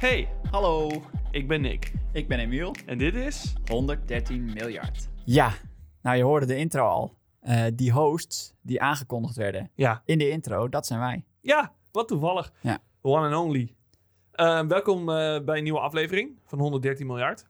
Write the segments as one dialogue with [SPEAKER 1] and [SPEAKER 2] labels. [SPEAKER 1] Hey,
[SPEAKER 2] Hallo,
[SPEAKER 1] ik ben Nick
[SPEAKER 2] ik ben Emiel.
[SPEAKER 1] en dit is
[SPEAKER 2] 113 miljard. Ja, nou je hoorde de intro al. Eh, die hosts die aangekondigd werden
[SPEAKER 1] ja,
[SPEAKER 2] in de intro, dat zijn wij.
[SPEAKER 1] ja, wat toevallig.
[SPEAKER 2] Ja.
[SPEAKER 1] One and only. Eh, welkom eh, bij een nieuwe aflevering van 113 miljard.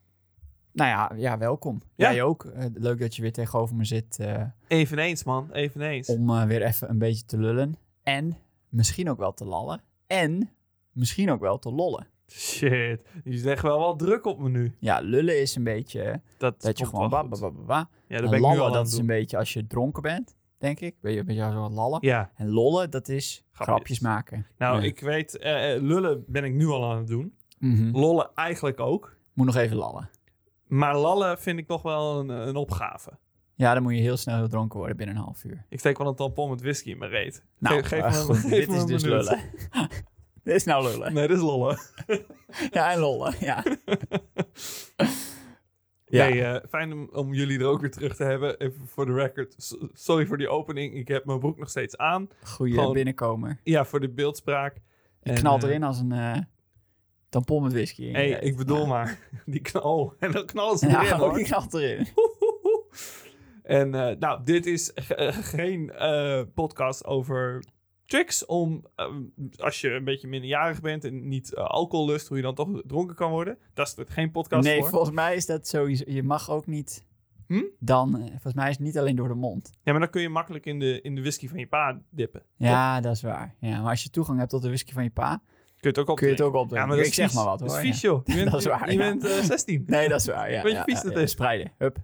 [SPEAKER 2] Nou ja, ja welkom.
[SPEAKER 1] Ja.
[SPEAKER 2] Jij ook. Eh, leuk dat je weer tegenover me zit eh,
[SPEAKER 1] Eveneens man, eveneens.
[SPEAKER 2] om eh, weer even een beetje te lullen. En misschien ook wel te lallen. En misschien ook wel te lollen.
[SPEAKER 1] Shit, je legt wel wat druk op me nu.
[SPEAKER 2] Ja, lullen is een beetje eh,
[SPEAKER 1] Dat,
[SPEAKER 2] dat je
[SPEAKER 1] komt
[SPEAKER 2] gewoon...
[SPEAKER 1] wel
[SPEAKER 2] Ba,
[SPEAKER 1] goed.
[SPEAKER 2] ba, ba, ba, ba.
[SPEAKER 1] Ja,
[SPEAKER 2] En
[SPEAKER 1] dat ben ik nu al
[SPEAKER 2] lallen,
[SPEAKER 1] aan
[SPEAKER 2] dat
[SPEAKER 1] het
[SPEAKER 2] is
[SPEAKER 1] doen.
[SPEAKER 2] een beetje als je dronken bent, denk ik. Ben je een beetje zo wat lallen.
[SPEAKER 1] Ja,
[SPEAKER 2] En lollen, dat is
[SPEAKER 1] Grapjes.
[SPEAKER 2] grapjes, maken.
[SPEAKER 1] nou
[SPEAKER 2] Ja.
[SPEAKER 1] ik weet, eh, eh, lullen ben ik nu al aan het doen.
[SPEAKER 2] Mhm.
[SPEAKER 1] Lollen eigenlijk ook.
[SPEAKER 2] Moet nog even lallen.
[SPEAKER 1] Maar lallen vind ik nog wel een, een opgave.
[SPEAKER 2] Ja, dan moet je heel snel dronken worden binnen een half uur.
[SPEAKER 1] Ik steek wel een tampon met whisky in mijn reet.
[SPEAKER 2] Nou,
[SPEAKER 1] Geef- geef
[SPEAKER 2] eh,
[SPEAKER 1] me-
[SPEAKER 2] goed,
[SPEAKER 1] geef
[SPEAKER 2] dit
[SPEAKER 1] me
[SPEAKER 2] is
[SPEAKER 1] een
[SPEAKER 2] dus
[SPEAKER 1] minuut.
[SPEAKER 2] lullen. dit is nou lullen.
[SPEAKER 1] Nee, dit is lollen.
[SPEAKER 2] Ja, en lollen, ja. ja.
[SPEAKER 1] Nee, eh, fijn om, om jullie er ook weer terug te hebben. Even voor de record. S- sorry voor die opening. Ik heb mijn broek nog steeds aan.
[SPEAKER 2] Goeie
[SPEAKER 1] gewoon-
[SPEAKER 2] binnenkomer.
[SPEAKER 1] Ja, voor de beeldspraak.
[SPEAKER 2] Je
[SPEAKER 1] En,
[SPEAKER 2] knalt
[SPEAKER 1] eh,
[SPEAKER 2] erin als een eh tampon met whisky. in je
[SPEAKER 1] hey,
[SPEAKER 2] reet.
[SPEAKER 1] ik bedoel maar. Die knal. En dan knallen ze
[SPEAKER 2] Ja,
[SPEAKER 1] erin, hoor.
[SPEAKER 2] die knalt erin.
[SPEAKER 1] Hoehoehoe. En eh, nou, dit is ge- eh, geen eh, podcast over tricks om, ehm, als je een beetje minderjarig bent en niet eh, alcohol lust, hoe je dan toch dronken kan worden. Dat is het geen podcast
[SPEAKER 2] Nee,
[SPEAKER 1] voor.
[SPEAKER 2] volgens mij is dat sowieso... Je mag ook niet...
[SPEAKER 1] Hm?
[SPEAKER 2] Dan, eh, volgens mij is het niet alleen door de mond.
[SPEAKER 1] Ja, maar dan kun je makkelijk in de, in de whisky van je pa dippen.
[SPEAKER 2] Ja, dat is waar. Ja, maar als je toegang hebt tot de whisky van je pa,
[SPEAKER 1] Kun je het ook op
[SPEAKER 2] kun je het ook opdrinken.
[SPEAKER 1] Ja, maar dat
[SPEAKER 2] ik
[SPEAKER 1] is
[SPEAKER 2] zeg
[SPEAKER 1] vies.
[SPEAKER 2] maar wat hoor.
[SPEAKER 1] Dat is
[SPEAKER 2] ja.
[SPEAKER 1] vies, joh. Je bent,
[SPEAKER 2] Dat is waar,
[SPEAKER 1] je
[SPEAKER 2] ja.
[SPEAKER 1] bent eh, 16.
[SPEAKER 2] Nee, dat is waar. Ja,
[SPEAKER 1] Weet je
[SPEAKER 2] ja,
[SPEAKER 1] hoe vies
[SPEAKER 2] ja,
[SPEAKER 1] dat
[SPEAKER 2] ja,
[SPEAKER 1] is?
[SPEAKER 2] Spreiden. Hup.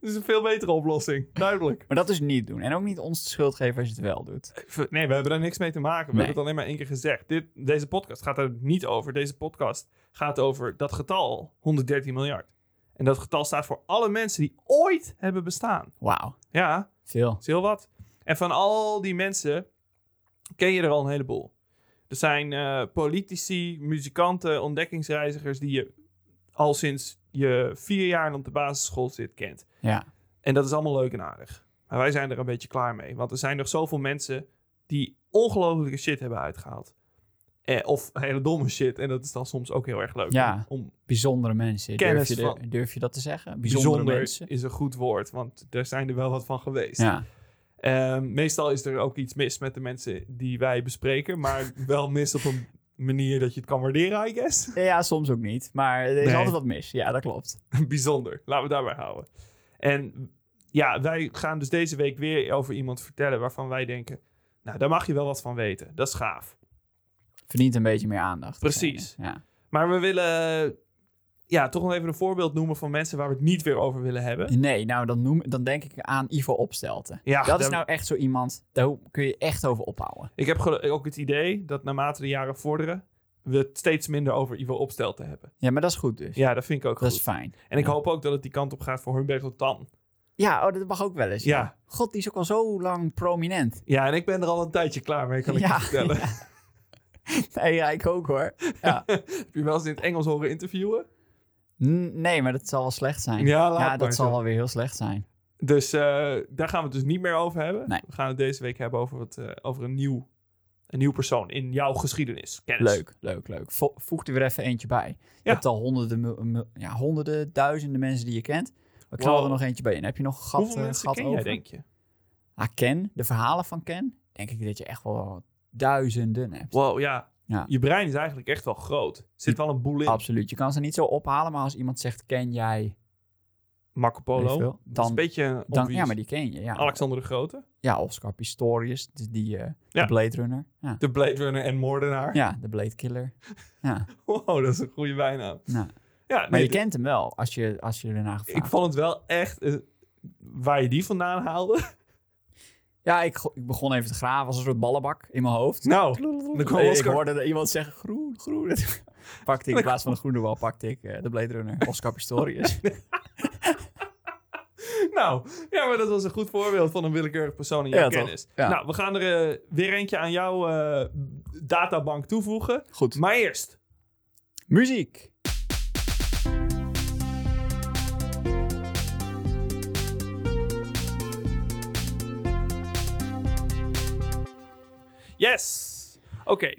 [SPEAKER 1] Dat is een veel betere oplossing. Duidelijk.
[SPEAKER 2] Maar dat dus niet doen. En ook niet ons de schuld geven als je het wel doet.
[SPEAKER 1] Nee, we hebben daar niks mee te maken. We
[SPEAKER 2] Nee.
[SPEAKER 1] hebben het alleen maar één keer gezegd. Dit, deze podcast gaat er niet over. Deze podcast gaat over dat getal 113 miljard. En dat getal staat voor alle mensen die ooit hebben bestaan.
[SPEAKER 2] Wauw.
[SPEAKER 1] Ja,
[SPEAKER 2] Veel.
[SPEAKER 1] Dat is heel wat. En van al die mensen ken je er al een heleboel. Er zijn eh, politici, muzikanten, ontdekkingsreizigers die je al sinds je vier jaar op de basisschool zit kent.
[SPEAKER 2] Ja.
[SPEAKER 1] En dat is allemaal leuk en aardig. Maar wij zijn er een beetje klaar mee. Want er zijn nog zoveel mensen die ongelofelijke shit hebben uitgehaald. Eh, of hele domme shit. En dat is dan soms ook heel erg leuk.
[SPEAKER 2] Ja.
[SPEAKER 1] Om,
[SPEAKER 2] Bijzondere mensen.
[SPEAKER 1] Kennis
[SPEAKER 2] Durf je, de-
[SPEAKER 1] van-
[SPEAKER 2] durf je dat te zeggen? Bijzondere
[SPEAKER 1] bijzonder
[SPEAKER 2] mensen.
[SPEAKER 1] is een goed woord. Want er zijn er wel wat van geweest.
[SPEAKER 2] Ja.
[SPEAKER 1] Ehm, meestal is er ook iets mis met de mensen die wij bespreken, maar wel mis op een manier dat je het kan waarderen, I guess.
[SPEAKER 2] Ja, ja, soms ook niet. Maar er is
[SPEAKER 1] Nee.
[SPEAKER 2] altijd wat mis. Ja, dat klopt.
[SPEAKER 1] Bijzonder. Laten we het daarbij houden. En ja, wij gaan dus deze week weer over iemand vertellen waarvan wij denken, nou, daar mag je wel wat van weten. Dat is gaaf.
[SPEAKER 2] Verdient een beetje meer aandacht.
[SPEAKER 1] Precies.
[SPEAKER 2] Ja.
[SPEAKER 1] Maar we willen ja, toch nog even een voorbeeld noemen van mensen waar we het niet weer over willen hebben.
[SPEAKER 2] Nee, nou dan, noem, dan denk ik aan Ivo Opstelten.
[SPEAKER 1] Ja,
[SPEAKER 2] dat is
[SPEAKER 1] daar-
[SPEAKER 2] nou echt zo iemand, daar kun je echt over ophouden.
[SPEAKER 1] Ik heb gelu- ook het idee dat naarmate de jaren vorderen, we het steeds minder over Ivo Opstelten hebben.
[SPEAKER 2] Ja, maar dat is goed dus.
[SPEAKER 1] Ja, dat vind ik ook
[SPEAKER 2] dat is
[SPEAKER 1] goed.
[SPEAKER 2] fijn.
[SPEAKER 1] En ik
[SPEAKER 2] Ja.
[SPEAKER 1] hoop ook dat het die kant op gaat voor Humberto Tan.
[SPEAKER 2] Ja, oh, dat mag ook wel eens.
[SPEAKER 1] Ja.
[SPEAKER 2] God, die is ook al zo lang prominent.
[SPEAKER 1] Ja, en ik ben er al een tijdje klaar mee, kan ik
[SPEAKER 2] Ja,
[SPEAKER 1] je vertellen.
[SPEAKER 2] Nee, ja, ik ook hoor.
[SPEAKER 1] Heb je wel eens in het Engels horen interviewen?
[SPEAKER 2] N- Nee, maar dat zal wel slecht zijn.
[SPEAKER 1] Ja, laat
[SPEAKER 2] Ja,
[SPEAKER 1] maar
[SPEAKER 2] dat zal
[SPEAKER 1] zo.
[SPEAKER 2] wel weer heel slecht zijn.
[SPEAKER 1] Dus eh, daar gaan we het dus niet meer over hebben.
[SPEAKER 2] Nee.
[SPEAKER 1] We gaan het deze week hebben over, het, eh, over een, nieuw, een nieuw persoon in jouw geschiedenis. Kennis.
[SPEAKER 2] Leuk, leuk, leuk. Vo- voeg er weer even eentje bij. Je
[SPEAKER 1] Ja.
[SPEAKER 2] hebt al honderden, mil- mil- ja, honderden, duizenden mensen die je kent. We knallen
[SPEAKER 1] Wow.
[SPEAKER 2] er nog eentje bij in. Heb je nog een gat,
[SPEAKER 1] Hoeveel
[SPEAKER 2] eh,
[SPEAKER 1] mensen
[SPEAKER 2] gat
[SPEAKER 1] ken
[SPEAKER 2] over?
[SPEAKER 1] jij, denk je?
[SPEAKER 2] Ah, Ken, de verhalen van Ken. Denk ik dat je echt wel duizenden hebt.
[SPEAKER 1] Wow, ja.
[SPEAKER 2] Ja.
[SPEAKER 1] Je brein is eigenlijk echt wel groot. Er zit wel een boel in.
[SPEAKER 2] Absoluut. Je kan ze niet zo ophalen, maar als iemand zegt ken jij,
[SPEAKER 1] Marco
[SPEAKER 2] Weet ik
[SPEAKER 1] Polo.
[SPEAKER 2] veel.
[SPEAKER 1] Dan, dat is een
[SPEAKER 2] Dan-
[SPEAKER 1] beetje een
[SPEAKER 2] dan,
[SPEAKER 1] obvious.
[SPEAKER 2] ja, maar die ken je. Ja,
[SPEAKER 1] Alexander de Grote.
[SPEAKER 2] ja Oscar Pistorius, dus die eh,
[SPEAKER 1] Ja.
[SPEAKER 2] de Blade Runner. Ja.
[SPEAKER 1] De Blade Runner en moordenaar.
[SPEAKER 2] ja, de Blade Killer. Ja.
[SPEAKER 1] Wow, dat is een goede bijnaam.
[SPEAKER 2] Nou.
[SPEAKER 1] Ja,
[SPEAKER 2] Maar
[SPEAKER 1] nee,
[SPEAKER 2] je kent hem wel als je, als je ernaar
[SPEAKER 1] Ik
[SPEAKER 2] gevraagd
[SPEAKER 1] vond het wel echt... eh, waar je die vandaan haalde.
[SPEAKER 2] Ja, ik, go- ik begon even te graven als een soort ballenbak in mijn hoofd.
[SPEAKER 1] Nou, dan kwam
[SPEAKER 2] Nee, ik
[SPEAKER 1] Oscar.
[SPEAKER 2] hoorde dat iemand zeggen groen, groen. pakte ik in plaats van de groene bal, pakte ik eh, de Blade Runner, Oscar Pistorius.
[SPEAKER 1] Nou, ja, maar dat was een goed voorbeeld van een willekeurig persoon in jouw
[SPEAKER 2] Ja, toch?
[SPEAKER 1] kennis.
[SPEAKER 2] Ja.
[SPEAKER 1] Nou, we gaan er eh, weer eentje aan jouw eh, databank toevoegen.
[SPEAKER 2] Goed.
[SPEAKER 1] Maar eerst,
[SPEAKER 2] Muziek.
[SPEAKER 1] yes! Oké,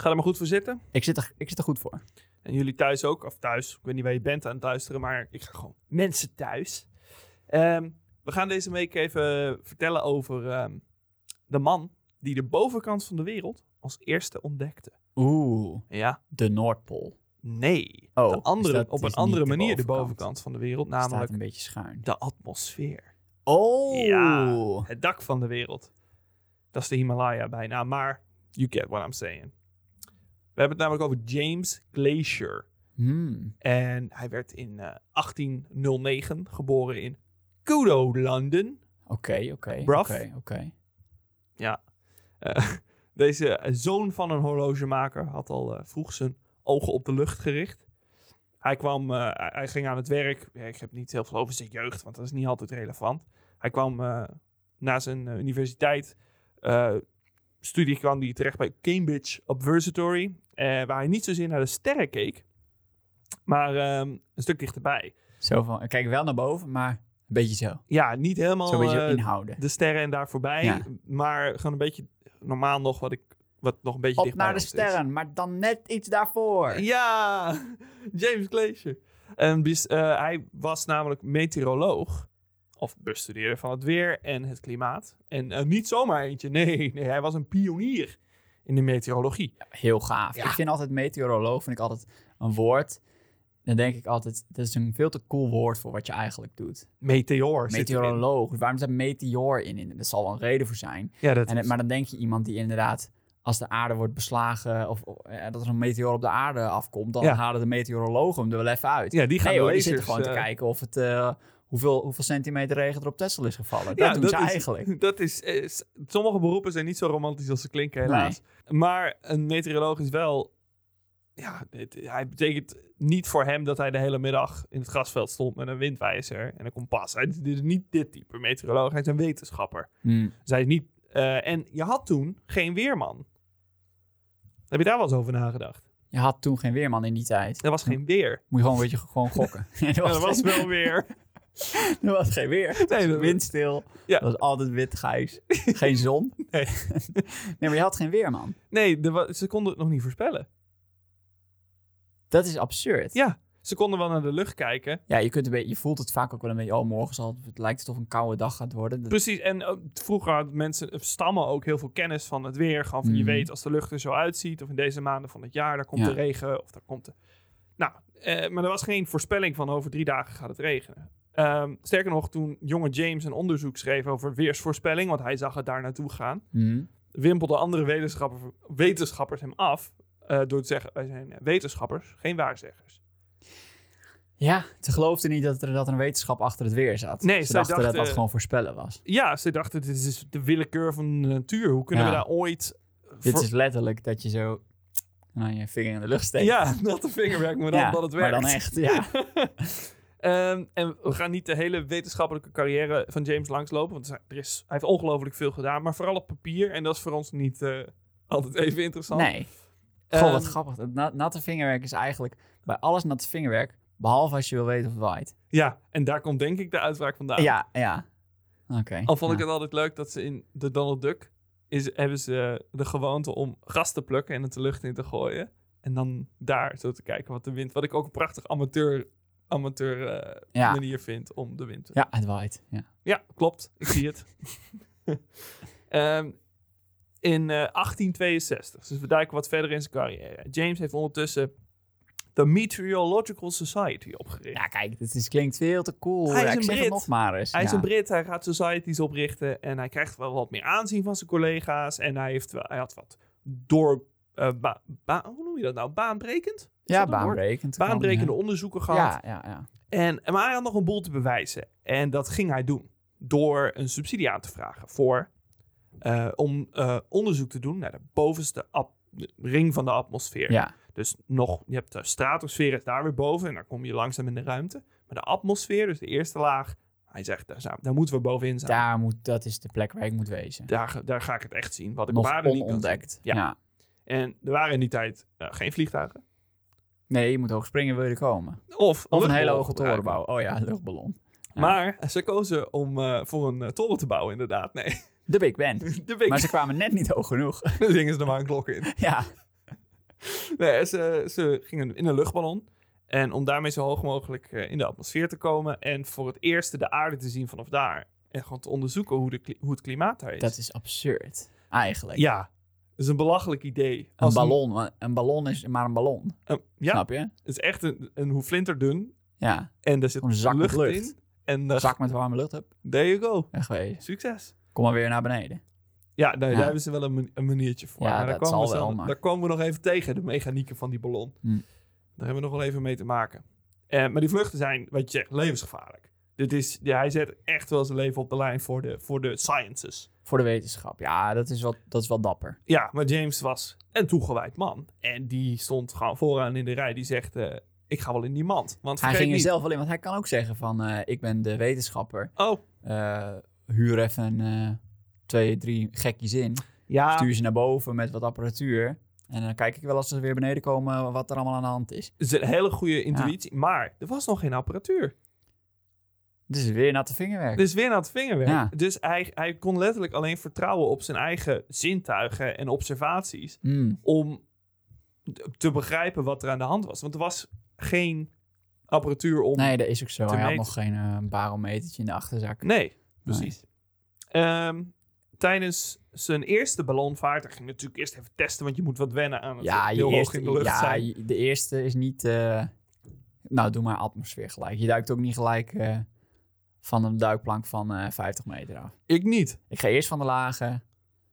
[SPEAKER 1] Ga er maar goed voor zitten.
[SPEAKER 2] Ik zit er, ik zit er goed voor.
[SPEAKER 1] En jullie thuis ook, of thuis, ik weet niet waar je bent aan het luisteren, maar ik ga gewoon mensen thuis. Ehm, we gaan deze week even vertellen over ehm, de man die de bovenkant van de wereld als eerste ontdekte.
[SPEAKER 2] Oeh,
[SPEAKER 1] Ja,
[SPEAKER 2] de Noordpool.
[SPEAKER 1] nee.
[SPEAKER 2] Oh,
[SPEAKER 1] de andere,
[SPEAKER 2] is dat-
[SPEAKER 1] op
[SPEAKER 2] is
[SPEAKER 1] een
[SPEAKER 2] niet
[SPEAKER 1] andere
[SPEAKER 2] de
[SPEAKER 1] manier de
[SPEAKER 2] bovenkant.
[SPEAKER 1] bovenkant van de wereld,
[SPEAKER 2] Staat
[SPEAKER 1] namelijk
[SPEAKER 2] een beetje schuin.
[SPEAKER 1] de atmosfeer.
[SPEAKER 2] Oh,
[SPEAKER 1] Ja, het dak van de wereld. Dat is de Himalaya bijna, maar you get what I'm saying. We hebben het namelijk over James Glacier.
[SPEAKER 2] Hmm.
[SPEAKER 1] En hij werd in eh, 1809 geboren in Kudo, London.
[SPEAKER 2] oké, oké,
[SPEAKER 1] Bruv.
[SPEAKER 2] oké, oké.
[SPEAKER 1] Eh, deze zoon van een horlogemaker had al eh, vroeg zijn ogen op de lucht gericht. Hij, kwam, eh, hij- hij ging aan het werk. Ja, ik heb niet heel veel over zijn jeugd, want dat is niet altijd relevant. Hij kwam eh, na zijn eh, universiteit. eh, studie kwam hij terecht bij Cambridge Observatory. eh, waar hij niet zozeer naar de sterren keek, maar ehm, een stuk dichterbij.
[SPEAKER 2] Zo van, ik kijk wel naar boven, maar een beetje zo.
[SPEAKER 1] Ja, niet helemaal.
[SPEAKER 2] Zo een beetje
[SPEAKER 1] eh,
[SPEAKER 2] inhouden.
[SPEAKER 1] de sterren en daar voorbij.
[SPEAKER 2] Ja.
[SPEAKER 1] Maar gewoon een beetje normaal nog wat ik wat nog een beetje
[SPEAKER 2] Op
[SPEAKER 1] dichtbij
[SPEAKER 2] naar de
[SPEAKER 1] ons is.
[SPEAKER 2] sterren, maar dan net iets daarvoor.
[SPEAKER 1] Ja, James Glacier. En bis- eh, hij was namelijk meteoroloog. Of bestudeerder van het weer en het klimaat. En eh, niet zomaar eentje. Nee, nee, hij was een pionier in de meteorologie.
[SPEAKER 2] Heel gaaf.
[SPEAKER 1] Ja.
[SPEAKER 2] Ik vind altijd meteoroloog, vind ik altijd een woord. Dan denk ik altijd, dat is een veel te cool woord voor wat je eigenlijk doet.
[SPEAKER 1] Meteor. zit erin.
[SPEAKER 2] Meteoroloog, waarom staat meteor in? En Er zal wel een reden voor zijn.
[SPEAKER 1] Ja, dat
[SPEAKER 2] En, het-
[SPEAKER 1] is-
[SPEAKER 2] maar dan denk je iemand die inderdaad, als de aarde wordt beslagen of, of, eh, dat er een meteor op de aarde afkomt, dan
[SPEAKER 1] Ja.
[SPEAKER 2] halen de meteorologen hem er wel even uit.
[SPEAKER 1] ja, die gaan
[SPEAKER 2] nee
[SPEAKER 1] de
[SPEAKER 2] hoor, die
[SPEAKER 1] lasers,
[SPEAKER 2] zitten gewoon te
[SPEAKER 1] eh,
[SPEAKER 2] kijken of het, eh, hoeveel, hoeveel centimeter regen er op Texel is gevallen. dat doen ze
[SPEAKER 1] is,
[SPEAKER 2] eigenlijk.
[SPEAKER 1] Dat is, is- sommige beroepen zijn niet zo romantisch als ze klinken, helaas. Maar een meteoroloog is wel. Ja, het- hij betekent niet voor hem dat hij de hele middag in het grasveld stond met een windwijzer en een kompas. Hij dit is dus niet dit type meteoroloog, hij is een wetenschapper.
[SPEAKER 2] Hmm.
[SPEAKER 1] Dus hij is niet. eh, en je had toen geen weerman. Heb je daar wel eens over nagedacht?
[SPEAKER 2] Je had toen geen weerman in die tijd.
[SPEAKER 1] Er was geen weer.
[SPEAKER 2] Moet je gewoon een beetje gewoon gokken. er,
[SPEAKER 1] Ja, er was
[SPEAKER 2] geen-
[SPEAKER 1] wel weer.
[SPEAKER 2] er was geen weer.
[SPEAKER 1] Nee, dat-
[SPEAKER 2] Windstil.
[SPEAKER 1] Ja.
[SPEAKER 2] Ja. was altijd wit, grijs. Geen zon.
[SPEAKER 1] Nee.
[SPEAKER 2] nee, maar je had geen weerman.
[SPEAKER 1] nee er wa- ze konden het nog niet voorspellen.
[SPEAKER 2] Dat is absurd.
[SPEAKER 1] Ja. Ze konden wel naar de lucht kijken.
[SPEAKER 2] Ja, je, kunt een beetje, je voelt het vaak ook wel een beetje. Oh, morgen zal het, het lijkt het of een koude dag gaat worden. Dat-
[SPEAKER 1] Precies, en eh, vroeger hadden mensen, of stammen ook heel veel kennis van het weer. Gewoon van je
[SPEAKER 2] Mhm.
[SPEAKER 1] weet als de lucht er zo uitziet, of in deze maanden van het jaar, daar komt
[SPEAKER 2] Ja.
[SPEAKER 1] de regen, of daar komt de... Nou, eh, maar er was geen voorspelling van over drie dagen gaat het regenen. Ehm, sterker nog, toen jonge James een onderzoek schreef over weersvoorspelling, want hij zag het daar naartoe gaan,
[SPEAKER 2] Mhm.
[SPEAKER 1] wimpelden andere wetenschappers, wetenschappers hem af eh, door te zeggen, wij zijn wetenschappers, geen waarzeggers.
[SPEAKER 2] Ja, ze geloofden niet dat er dat er een wetenschap achter het weer zat.
[SPEAKER 1] Nee,
[SPEAKER 2] ze
[SPEAKER 1] zij
[SPEAKER 2] dachten dat
[SPEAKER 1] dachten-
[SPEAKER 2] dat gewoon voorspellen was.
[SPEAKER 1] Ja, ze dachten, dit is de willekeur van de natuur. Hoe kunnen we
[SPEAKER 2] Ja.
[SPEAKER 1] daar ooit...
[SPEAKER 2] Dit
[SPEAKER 1] voor-
[SPEAKER 2] is letterlijk dat je zo nou, je vinger in de lucht steekt.
[SPEAKER 1] Ja, dat de vingerwerk, maar dan
[SPEAKER 2] Ja,
[SPEAKER 1] dat het
[SPEAKER 2] Maar
[SPEAKER 1] werkt.
[SPEAKER 2] dan echt, ja.
[SPEAKER 1] Ehm, en we gaan niet de hele wetenschappelijke carrière van James langslopen, want er is, hij heeft ongelooflijk veel gedaan, maar vooral op papier. En dat is voor ons niet eh, altijd even interessant.
[SPEAKER 2] Nee.
[SPEAKER 1] Ehm,
[SPEAKER 2] Goh, wat grappig. Dat na- natte vingerwerk is eigenlijk bij alles natte vingerwerk, behalve als je wil weten of het waait.
[SPEAKER 1] Ja, en daar komt denk ik de uitspraak vandaan.
[SPEAKER 2] Ja, ja. Oh. Oké.
[SPEAKER 1] Al vond ik
[SPEAKER 2] Ja.
[SPEAKER 1] het altijd leuk dat ze in de Donald Duck is, hebben ze eh, de gewoonte om gras te plukken en het de lucht in te gooien. En dan daar zo te kijken wat de wind, wat ik ook een prachtig amateur, amateur eh,
[SPEAKER 2] Ja.
[SPEAKER 1] manier vind om de wind te
[SPEAKER 2] Ja, het waait. Ja.
[SPEAKER 1] Ja, klopt. Ik zie het. Ehm, in eh, 1862, dus we duiken wat verder in zijn carrière. James heeft ondertussen de Meteorological Society opgericht.
[SPEAKER 2] Ja, kijk, dit is, klinkt veel te cool.
[SPEAKER 1] Hij is
[SPEAKER 2] Ja,
[SPEAKER 1] een
[SPEAKER 2] ik zeg
[SPEAKER 1] Brit.
[SPEAKER 2] het nog maar eens.
[SPEAKER 1] Hij is
[SPEAKER 2] Ja.
[SPEAKER 1] een Brit, hij gaat societies oprichten en hij krijgt wel wat meer aanzien van zijn collega's. En hij, heeft wel, hij had wat door. eh, ba- ba- hoe noem je dat nou? Baanbrekend? Is dat
[SPEAKER 2] Ja,
[SPEAKER 1] een woord?
[SPEAKER 2] baanbrekend.
[SPEAKER 1] Baanbrekende
[SPEAKER 2] Kan,
[SPEAKER 1] onderzoeken
[SPEAKER 2] ja.
[SPEAKER 1] gehad.
[SPEAKER 2] Ja, ja, ja.
[SPEAKER 1] En, maar hij had nog een boel te bewijzen. En dat ging hij doen. Door een subsidie aan te vragen voor, eh, om eh, onderzoek te doen naar de bovenste ap- ring van de atmosfeer.
[SPEAKER 2] Ja.
[SPEAKER 1] Dus nog, je hebt de stratosfeer is daar weer boven en dan kom je langzaam in de ruimte. Maar de atmosfeer, dus de eerste laag, hij zegt, daar, zou- daar moeten we bovenin zijn. Daar,
[SPEAKER 2] Daar moet, dat is de plek waar ik moet wezen.
[SPEAKER 1] ga- daar ga ik het echt zien, wat ik op
[SPEAKER 2] nog
[SPEAKER 1] aarde niet kan zien.
[SPEAKER 2] onontdekt.
[SPEAKER 1] Ja.
[SPEAKER 2] Ja.
[SPEAKER 1] En er waren in die tijd eh, geen vliegtuigen.
[SPEAKER 2] Nee, je moet hoog springen wil je er komen.
[SPEAKER 1] Of,
[SPEAKER 2] Of een hele
[SPEAKER 1] luchtballonnen
[SPEAKER 2] hoge toren
[SPEAKER 1] gebruiken.
[SPEAKER 2] bouwen. Oh ja, luchtballon. Ja.
[SPEAKER 1] Maar ze kozen om eh, voor een eh, toren te bouwen, inderdaad. Nee,
[SPEAKER 2] De Big Ben.
[SPEAKER 1] de big
[SPEAKER 2] Maar ze kwamen net niet hoog genoeg.
[SPEAKER 1] Daar zingen ze er maar een klok in.
[SPEAKER 2] ja.
[SPEAKER 1] nee, ze, ze gingen in een luchtballon. En om daarmee zo hoog mogelijk eh, in de atmosfeer te komen. En voor het eerst de aarde te zien vanaf daar. En gewoon te onderzoeken hoe, de, kli- hoe het klimaat daar is.
[SPEAKER 2] Dat is absurd, eigenlijk.
[SPEAKER 1] Ja, dat is een belachelijk idee.
[SPEAKER 2] Een
[SPEAKER 1] Als
[SPEAKER 2] ballon, want een ballon is maar een ballon,
[SPEAKER 1] een- ja,
[SPEAKER 2] snap je?
[SPEAKER 1] het is echt een, een hoe flinterdun.
[SPEAKER 2] Ja,
[SPEAKER 1] En daar zit
[SPEAKER 2] Gewoon een zak met
[SPEAKER 1] lucht,
[SPEAKER 2] lucht.
[SPEAKER 1] in. En eh,
[SPEAKER 2] zak met warme lucht op,
[SPEAKER 1] there you go.
[SPEAKER 2] wegwezen.
[SPEAKER 1] Succes.
[SPEAKER 2] Kom maar weer naar beneden.
[SPEAKER 1] Ja, nou,
[SPEAKER 2] Ja.
[SPEAKER 1] daar hebben ze wel een, mani- een maniertje voor.
[SPEAKER 2] Ja,
[SPEAKER 1] Maar daar
[SPEAKER 2] dat zal
[SPEAKER 1] komen we
[SPEAKER 2] wel,
[SPEAKER 1] zo-
[SPEAKER 2] maar-
[SPEAKER 1] Daar komen we nog even tegen, de mechanieken van die ballon.
[SPEAKER 2] Hm.
[SPEAKER 1] Daar hebben we nog wel even mee te maken. Eh, maar die vluchten zijn, wat je zegt, levensgevaarlijk. Dit is, ja, hij zet echt wel zijn leven op de lijn voor de, voor de sciences.
[SPEAKER 2] Voor de wetenschap. Ja, dat is wel, dat is wel dapper.
[SPEAKER 1] Ja, maar James was een toegewijd man. En die stond gewoon vooraan in de rij. Die zegt, eh, ik ga wel in die mand. Want
[SPEAKER 2] Hij
[SPEAKER 1] vergeet
[SPEAKER 2] ging er
[SPEAKER 1] niet-
[SPEAKER 2] zelf wel in, want hij kan ook zeggen van... eh, ik ben de wetenschapper.
[SPEAKER 1] Oh,
[SPEAKER 2] Eh, huur even eh, twee, drie gekjes in.
[SPEAKER 1] ja,
[SPEAKER 2] Stuur ze naar boven met wat apparatuur. En dan kijk ik wel als ze weer beneden komen eh, wat er allemaal aan de hand is.
[SPEAKER 1] het is een hele goede intuïtie. Maar er was nog geen apparatuur.
[SPEAKER 2] Dit is weer natte vingerwerk.
[SPEAKER 1] Dus weer naar het vingerwerk.
[SPEAKER 2] Ja.
[SPEAKER 1] Dus hij, hij kon letterlijk alleen vertrouwen op zijn eigen zintuigen en observaties.
[SPEAKER 2] Hmm,
[SPEAKER 1] om d- te begrijpen wat er aan de hand was. Want er was geen apparatuur om.
[SPEAKER 2] Nee, dat is ook zo.
[SPEAKER 1] Te
[SPEAKER 2] Hij had
[SPEAKER 1] meten.
[SPEAKER 2] nog geen eh, barometertje in de achterzak.
[SPEAKER 1] Nee, precies. Ehm, tijdens zijn eerste ballonvaart. Hij ging natuurlijk eerst even testen, want je moet wat wennen aan het
[SPEAKER 2] Ja, je
[SPEAKER 1] heel hoog
[SPEAKER 2] eerste,
[SPEAKER 1] in de lucht
[SPEAKER 2] ja
[SPEAKER 1] zijn.
[SPEAKER 2] je- de eerste is niet... eh, nou, doe maar atmosfeer gelijk. Je duikt ook niet gelijk eh, van een duikplank van eh, 50 meter af.
[SPEAKER 1] Ik niet.
[SPEAKER 2] Ik ga eerst van de lage.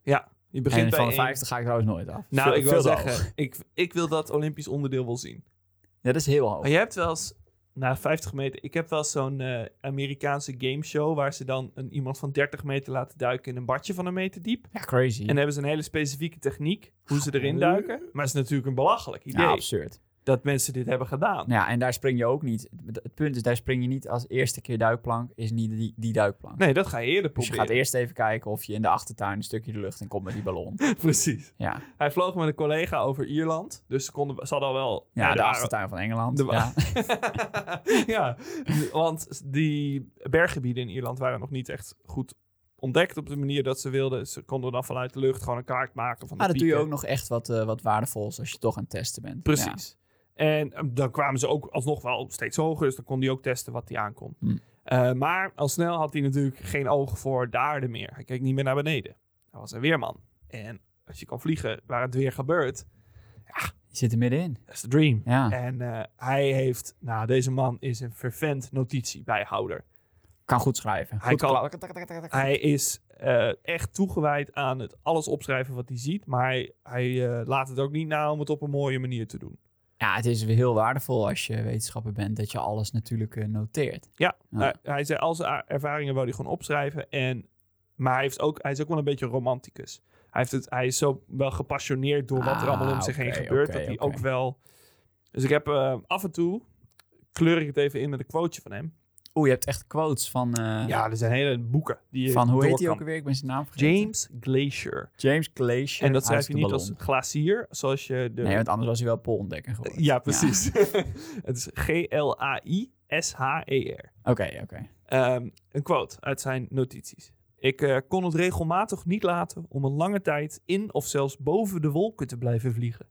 [SPEAKER 1] Ja, je
[SPEAKER 2] En
[SPEAKER 1] begint bij
[SPEAKER 2] van de
[SPEAKER 1] één.
[SPEAKER 2] 50 ga ik trouwens nooit af.
[SPEAKER 1] Nou,
[SPEAKER 2] Veel-
[SPEAKER 1] ik wil
[SPEAKER 2] veel te hoog.
[SPEAKER 1] zeggen, ik, ik wil dat Olympisch onderdeel wel zien.
[SPEAKER 2] Ja, dat is heel hoog.
[SPEAKER 1] Maar je hebt wel eens, na 50 meter, ik heb wel eens zo'n eh, Amerikaanse gameshow waar ze dan een, iemand van 30 meter laten duiken in een badje van een meter diep.
[SPEAKER 2] Ja, crazy.
[SPEAKER 1] En dan hebben ze een hele specifieke techniek hoe ze erin
[SPEAKER 2] Oeh.
[SPEAKER 1] duiken. Maar het is natuurlijk een belachelijk idee
[SPEAKER 2] ja, absurd.
[SPEAKER 1] dat mensen dit hebben gedaan.
[SPEAKER 2] Ja, en daar spring je ook niet. Het punt is, daar spring je niet als eerste keer duikplank, is niet die, die duikplank.
[SPEAKER 1] Nee, dat ga je eerder
[SPEAKER 2] dus je
[SPEAKER 1] proberen.
[SPEAKER 2] gaat eerst even kijken of je in de achtertuin een stukje de lucht in komt met die ballon.
[SPEAKER 1] Precies.
[SPEAKER 2] Ja,
[SPEAKER 1] Hij vloog met een collega over Ierland. Dus ze, konden, ze hadden al wel...
[SPEAKER 2] ja
[SPEAKER 1] eh,
[SPEAKER 2] de,
[SPEAKER 1] waren-
[SPEAKER 2] achtertuin van Engeland.
[SPEAKER 1] de-
[SPEAKER 2] ja.
[SPEAKER 1] ja, want die berggebieden in Ierland waren nog niet echt goed ontdekt op de manier dat ze wilden. Ze konden dan vanuit de lucht gewoon een kaart maken van de
[SPEAKER 2] Maar dat Ah, doe je
[SPEAKER 1] pieken.
[SPEAKER 2] ook nog echt wat, eh, wat waardevols als je toch aan het testen bent. Ja.
[SPEAKER 1] Precies. En eh, dan kwamen ze ook alsnog wel steeds hoger, dus dan kon hij ook testen wat hij aankon.
[SPEAKER 2] Hmm.
[SPEAKER 1] Eh, maar al snel had hij natuurlijk geen oog voor de aarde meer. Hij keek niet meer naar beneden. Hij was een weerman. En als je kan vliegen waar het weer gebeurt,
[SPEAKER 2] Je zit er middenin.
[SPEAKER 1] dat is de dream.
[SPEAKER 2] Ja.
[SPEAKER 1] En eh, hij heeft, nou deze man is een fervent notitiebijhouder.
[SPEAKER 2] Kan goed schrijven.
[SPEAKER 1] Hij
[SPEAKER 2] Goed
[SPEAKER 1] kan-
[SPEAKER 2] klap- tak, tak, tak, tak, tak.
[SPEAKER 1] Hij is eh, echt toegewijd aan het alles opschrijven wat hij ziet. Maar hij, hij eh, laat het ook niet na om het op een mooie manier te doen.
[SPEAKER 2] Ja, het is weer heel waardevol als je wetenschapper bent dat je alles natuurlijk eh, noteert.
[SPEAKER 1] Ja,
[SPEAKER 2] Ja.
[SPEAKER 1] eh, hij zei al zijn a- ervaringen wou hij gewoon opschrijven. En, maar hij, heeft ook, hij is ook wel een beetje romanticus. Hij, heeft het, hij is zo wel gepassioneerd door wat er
[SPEAKER 2] Ah,
[SPEAKER 1] allemaal om zich heen
[SPEAKER 2] oké,
[SPEAKER 1] gebeurt.
[SPEAKER 2] oké,
[SPEAKER 1] dat hij
[SPEAKER 2] oké.
[SPEAKER 1] ook wel... Dus ik heb eh, af en toe... kleur ik het even in met een quoteje van hem.
[SPEAKER 2] Oeh, je hebt echt quotes van, eh,
[SPEAKER 1] ja, er zijn hele boeken die je
[SPEAKER 2] van hoe heet
[SPEAKER 1] door
[SPEAKER 2] hij
[SPEAKER 1] kan-
[SPEAKER 2] ook alweer? Ik ben zijn naam vergeten.
[SPEAKER 1] James Glacier.
[SPEAKER 2] James Glacier.
[SPEAKER 1] En dat schrijf
[SPEAKER 2] uit
[SPEAKER 1] je
[SPEAKER 2] de
[SPEAKER 1] niet
[SPEAKER 2] ballon.
[SPEAKER 1] als glacier, zoals je de
[SPEAKER 2] Nee, want anders was hij wel poolontdekker geworden.
[SPEAKER 1] Ja, precies. het is G-L-A-I-S-H-E-R.
[SPEAKER 2] Oké, oké.
[SPEAKER 1] E Ehm, een quote uit zijn notities. Ik eh, kon het regelmatig niet laten om een lange tijd in of zelfs boven de wolken te blijven vliegen.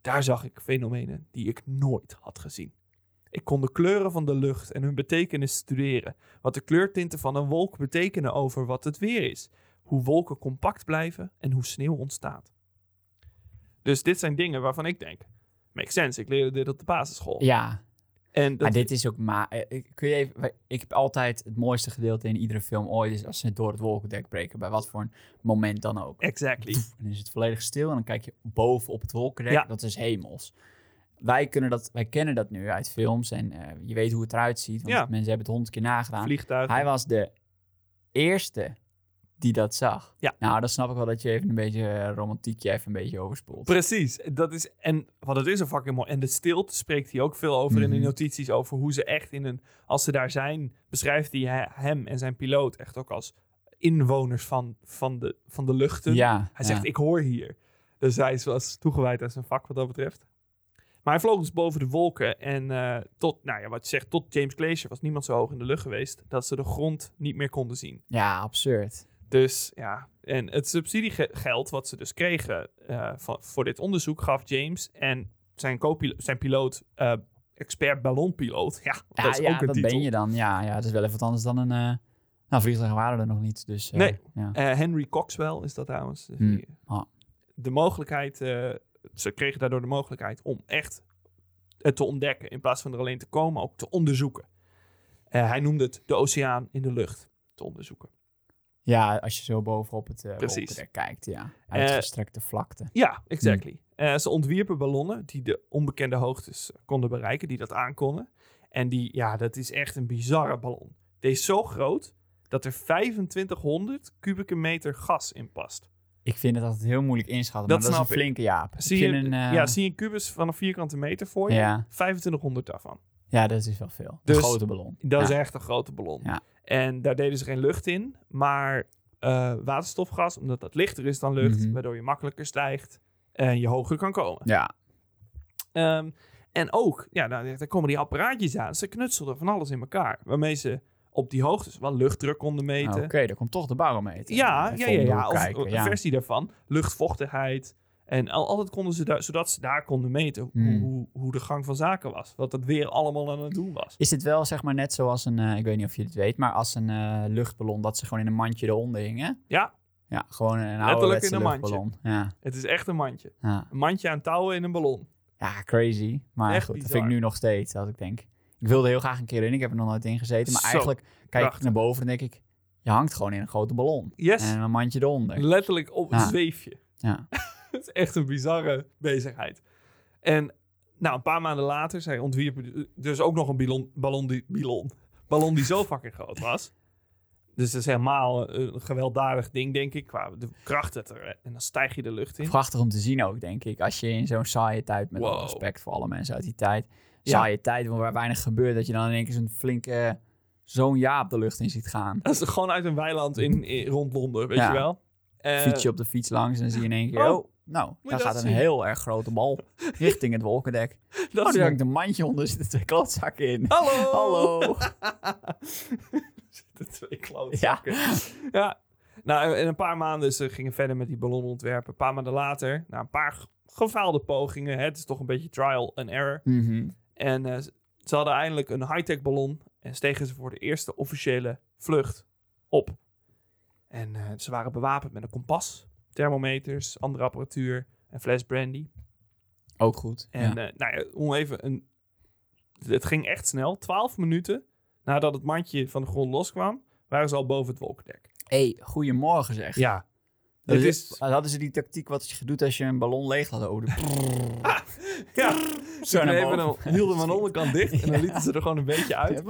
[SPEAKER 1] Daar zag ik fenomenen die ik nooit had gezien. Ik kon de kleuren van de lucht en hun betekenis studeren. Wat de kleurtinten van een wolk betekenen over wat het weer is. Hoe wolken compact blijven en hoe sneeuw ontstaat. Dus dit zijn dingen waarvan ik denk. Makes sense, ik leerde dit op de basisschool.
[SPEAKER 2] Ja,
[SPEAKER 1] En dat,
[SPEAKER 2] maar dit is ook maar. eh, ik- Kun je even. wij- Ik heb altijd het mooiste gedeelte in iedere film ooit is als ze door het wolkendek breken, bij wat voor een moment dan ook.
[SPEAKER 1] exactly.
[SPEAKER 2] En dan is het volledig stil en dan kijk je boven op het wolkendek.
[SPEAKER 1] Ja.
[SPEAKER 2] Dat is hemels. Wij, kunnen dat, wij kennen dat nu uit films en eh, je weet hoe het eruit ziet. Want
[SPEAKER 1] Ja.
[SPEAKER 2] mensen hebben het honderd keer nagedaan.
[SPEAKER 1] Vliegtuigen.
[SPEAKER 2] Ah. Hij was de eerste die dat zag.
[SPEAKER 1] Ja.
[SPEAKER 2] Nou, dan snap ik wel dat je even een beetje eh, romantiekje even een beetje overspoelt.
[SPEAKER 1] Precies. Dat is, en wat het is een fucking mooi. En de stilte spreekt hij ook veel over in
[SPEAKER 2] Mhm.
[SPEAKER 1] de notities. Over hoe ze echt in een. Als ze daar zijn, beschrijft hij he- hem en zijn piloot echt ook als inwoners van, van, de, van de luchten.
[SPEAKER 2] Ja.
[SPEAKER 1] Hij
[SPEAKER 2] ja.
[SPEAKER 1] zegt: Ik hoor hier. Dus hij is wel eens toegewijd aan zijn vak wat dat betreft. Maar hij vloog dus boven de wolken. En eh, tot, nou ja, wat je zegt, tot James Glacier was niemand zo hoog in de lucht geweest. dat ze de grond niet meer konden zien.
[SPEAKER 2] Ja, absurd.
[SPEAKER 1] Dus ja, En het subsidiegeld wat ze dus kregen eh, van, voor dit onderzoek gaf James en zijn, co-pilo- zijn piloot, eh, expert ballonpiloot. Ja,
[SPEAKER 2] Ja,
[SPEAKER 1] dat is
[SPEAKER 2] Ah, ja,
[SPEAKER 1] ook een
[SPEAKER 2] dat
[SPEAKER 1] titel.
[SPEAKER 2] ben je dan. Ja, ja, dat is wel even wat anders dan een... eh, Nou, vliegtuigen waren er nog niet, dus... eh,
[SPEAKER 1] Nee.
[SPEAKER 2] Ja.
[SPEAKER 1] Eh, Henry Coxwell is dat trouwens. Dus
[SPEAKER 2] Hmm.
[SPEAKER 1] die-
[SPEAKER 2] Ah.
[SPEAKER 1] De mogelijkheid, eh, ze kregen daardoor de mogelijkheid om echt het te ontdekken. In plaats van er alleen te komen, ook te onderzoeken. Eh, hij noemde het de oceaan in de lucht te onderzoeken.
[SPEAKER 2] ja, als je zo bovenop het eh
[SPEAKER 1] Precies. Eh,
[SPEAKER 2] wolkendek kijkt, ja. Uitgestrekte vlakte.
[SPEAKER 1] Ja, exactly. Eh, ze ontwierpen ballonnen die de onbekende hoogtes eh, konden bereiken, die dat aankonden. En die, ja, dat is echt een bizarre ballon. Deze is zo groot dat er 2500 kubieke meter gas in past.
[SPEAKER 2] Ik vind het altijd heel moeilijk inschatten,
[SPEAKER 1] Dat
[SPEAKER 2] maar dat is een
[SPEAKER 1] snap ik.
[SPEAKER 2] flinke jaap. Ik
[SPEAKER 1] Zie je,
[SPEAKER 2] vind een, eh,
[SPEAKER 1] ja, zie je een kubus van een vierkante meter voor je?
[SPEAKER 2] ja.
[SPEAKER 1] 2500 daarvan.
[SPEAKER 2] Ja, dat is wel veel.
[SPEAKER 1] Dus
[SPEAKER 2] een grote ballon.
[SPEAKER 1] Dat is
[SPEAKER 2] Ja.
[SPEAKER 1] echt een grote ballon.
[SPEAKER 2] Ja.
[SPEAKER 1] En daar deden ze geen lucht in, maar eh, waterstofgas, omdat dat lichter is dan lucht,
[SPEAKER 2] Mhm.
[SPEAKER 1] waardoor je makkelijker stijgt en je hoger kan komen.
[SPEAKER 2] Ja,
[SPEAKER 1] Ehm, en ook, ja, nou, daar komen die apparaatjes aan. Ze knutselden van alles in elkaar, waarmee ze op die hoogtes wel luchtdruk konden
[SPEAKER 2] Ah,
[SPEAKER 1] meten.
[SPEAKER 2] oké, daar komt toch de barometer.
[SPEAKER 1] Ja, ja,
[SPEAKER 2] Even
[SPEAKER 1] ja,
[SPEAKER 2] om
[SPEAKER 1] ja. Of
[SPEAKER 2] doorkijken,
[SPEAKER 1] een
[SPEAKER 2] ja.
[SPEAKER 1] versie daarvan. Luchtvochtigheid. En al, altijd konden ze daar, zodat ze daar konden meten hoe-
[SPEAKER 2] Hmm.
[SPEAKER 1] hoe, hoe de gang van zaken was. Wat het weer allemaal aan het doen was.
[SPEAKER 2] Is dit wel zeg maar net zoals een, eh, ik weet niet of je het weet, maar als een eh, luchtballon dat ze gewoon in een mandje eronder hingen?
[SPEAKER 1] Ja.
[SPEAKER 2] Ja, gewoon een
[SPEAKER 1] Letterlijk
[SPEAKER 2] ouderwetse
[SPEAKER 1] in een mandje.
[SPEAKER 2] luchtballon. Ja,
[SPEAKER 1] Het is echt een mandje.
[SPEAKER 2] ja.
[SPEAKER 1] Een mandje aan touwen in een ballon.
[SPEAKER 2] ja, crazy. Maar
[SPEAKER 1] Echt
[SPEAKER 2] goed, dat vind
[SPEAKER 1] bizar.
[SPEAKER 2] ik nu nog steeds, dat ik denk. Ik wilde heel graag een keer in, ik heb er nog nooit in gezeten. Maar
[SPEAKER 1] Zo,
[SPEAKER 2] eigenlijk kijk
[SPEAKER 1] prachtig.
[SPEAKER 2] ik naar boven en denk ik, je hangt gewoon in een grote ballon.
[SPEAKER 1] Yes.
[SPEAKER 2] En een mandje eronder.
[SPEAKER 1] Letterlijk op een
[SPEAKER 2] Ja.
[SPEAKER 1] zweefje.
[SPEAKER 2] Ja.
[SPEAKER 1] Het is echt een bizarre bezigheid. En nou, een paar maanden later, zij ontwierpen dus ook nog een ballon, ballon, die, ballon, ballon die zo fucking groot was. Dus dat is helemaal een een gewelddadig ding, denk ik, qua de kracht dat er... En dan stijg je de lucht in.
[SPEAKER 2] Prachtig om te zien ook, denk ik. Als je in zo'n saaie tijd, met
[SPEAKER 1] Wow.
[SPEAKER 2] alle respect voor alle mensen uit die tijd,
[SPEAKER 1] Ja.
[SPEAKER 2] saaie tijd waar weinig gebeurt, dat je dan in één keer zo'n flinke, zo'n jaap de lucht in ziet gaan.
[SPEAKER 1] Dat is gewoon uit een weiland in, in- rond Londen, weet
[SPEAKER 2] Ja.
[SPEAKER 1] je wel. Eh,
[SPEAKER 2] Fiets je op de fiets langs en dan zie je in één keer,
[SPEAKER 1] Oh,
[SPEAKER 2] oh, nou,
[SPEAKER 1] je
[SPEAKER 2] daar
[SPEAKER 1] dat
[SPEAKER 2] gaat een
[SPEAKER 1] zien?
[SPEAKER 2] heel erg grote bal richting het wolkendek.
[SPEAKER 1] dat
[SPEAKER 2] oh,
[SPEAKER 1] is Oh,
[SPEAKER 2] daar hangt een mandje onder, er zitten twee klootzakken in.
[SPEAKER 1] Hallo!
[SPEAKER 2] Hallo.
[SPEAKER 1] de twee
[SPEAKER 2] Ja.
[SPEAKER 1] klootzakken. Ja. Nou, en een paar maanden, ze gingen verder met die ballonontwerpen. Een paar maanden later, na een paar ge- gefaalde pogingen, hè, het is toch een beetje trial and error.
[SPEAKER 2] Mhm.
[SPEAKER 1] En eh, ze- ze hadden eindelijk een high-tech ballon en stegen ze voor de eerste officiële vlucht op. En eh, ze waren bewapend met een kompas, thermometers, andere apparatuur, een fles brandy.
[SPEAKER 2] Ook goed.
[SPEAKER 1] En
[SPEAKER 2] ja.
[SPEAKER 1] eh, nou ja, om even een. Het ging echt snel. Twaalf minuten nadat het mandje van de grond loskwam, waren ze al boven het wolkendek.
[SPEAKER 2] hey, goedemorgen zeg.
[SPEAKER 1] Ja.
[SPEAKER 2] dat,
[SPEAKER 1] dit
[SPEAKER 2] is,
[SPEAKER 1] is-
[SPEAKER 2] hadden ze die tactiek wat je doet als je een ballon leeg laat over de...
[SPEAKER 1] Ja. Ze
[SPEAKER 2] naar
[SPEAKER 1] knepen hem,
[SPEAKER 2] boven.
[SPEAKER 1] hielden hem aan de onderkant dicht en dan lieten ze er gewoon een beetje uit.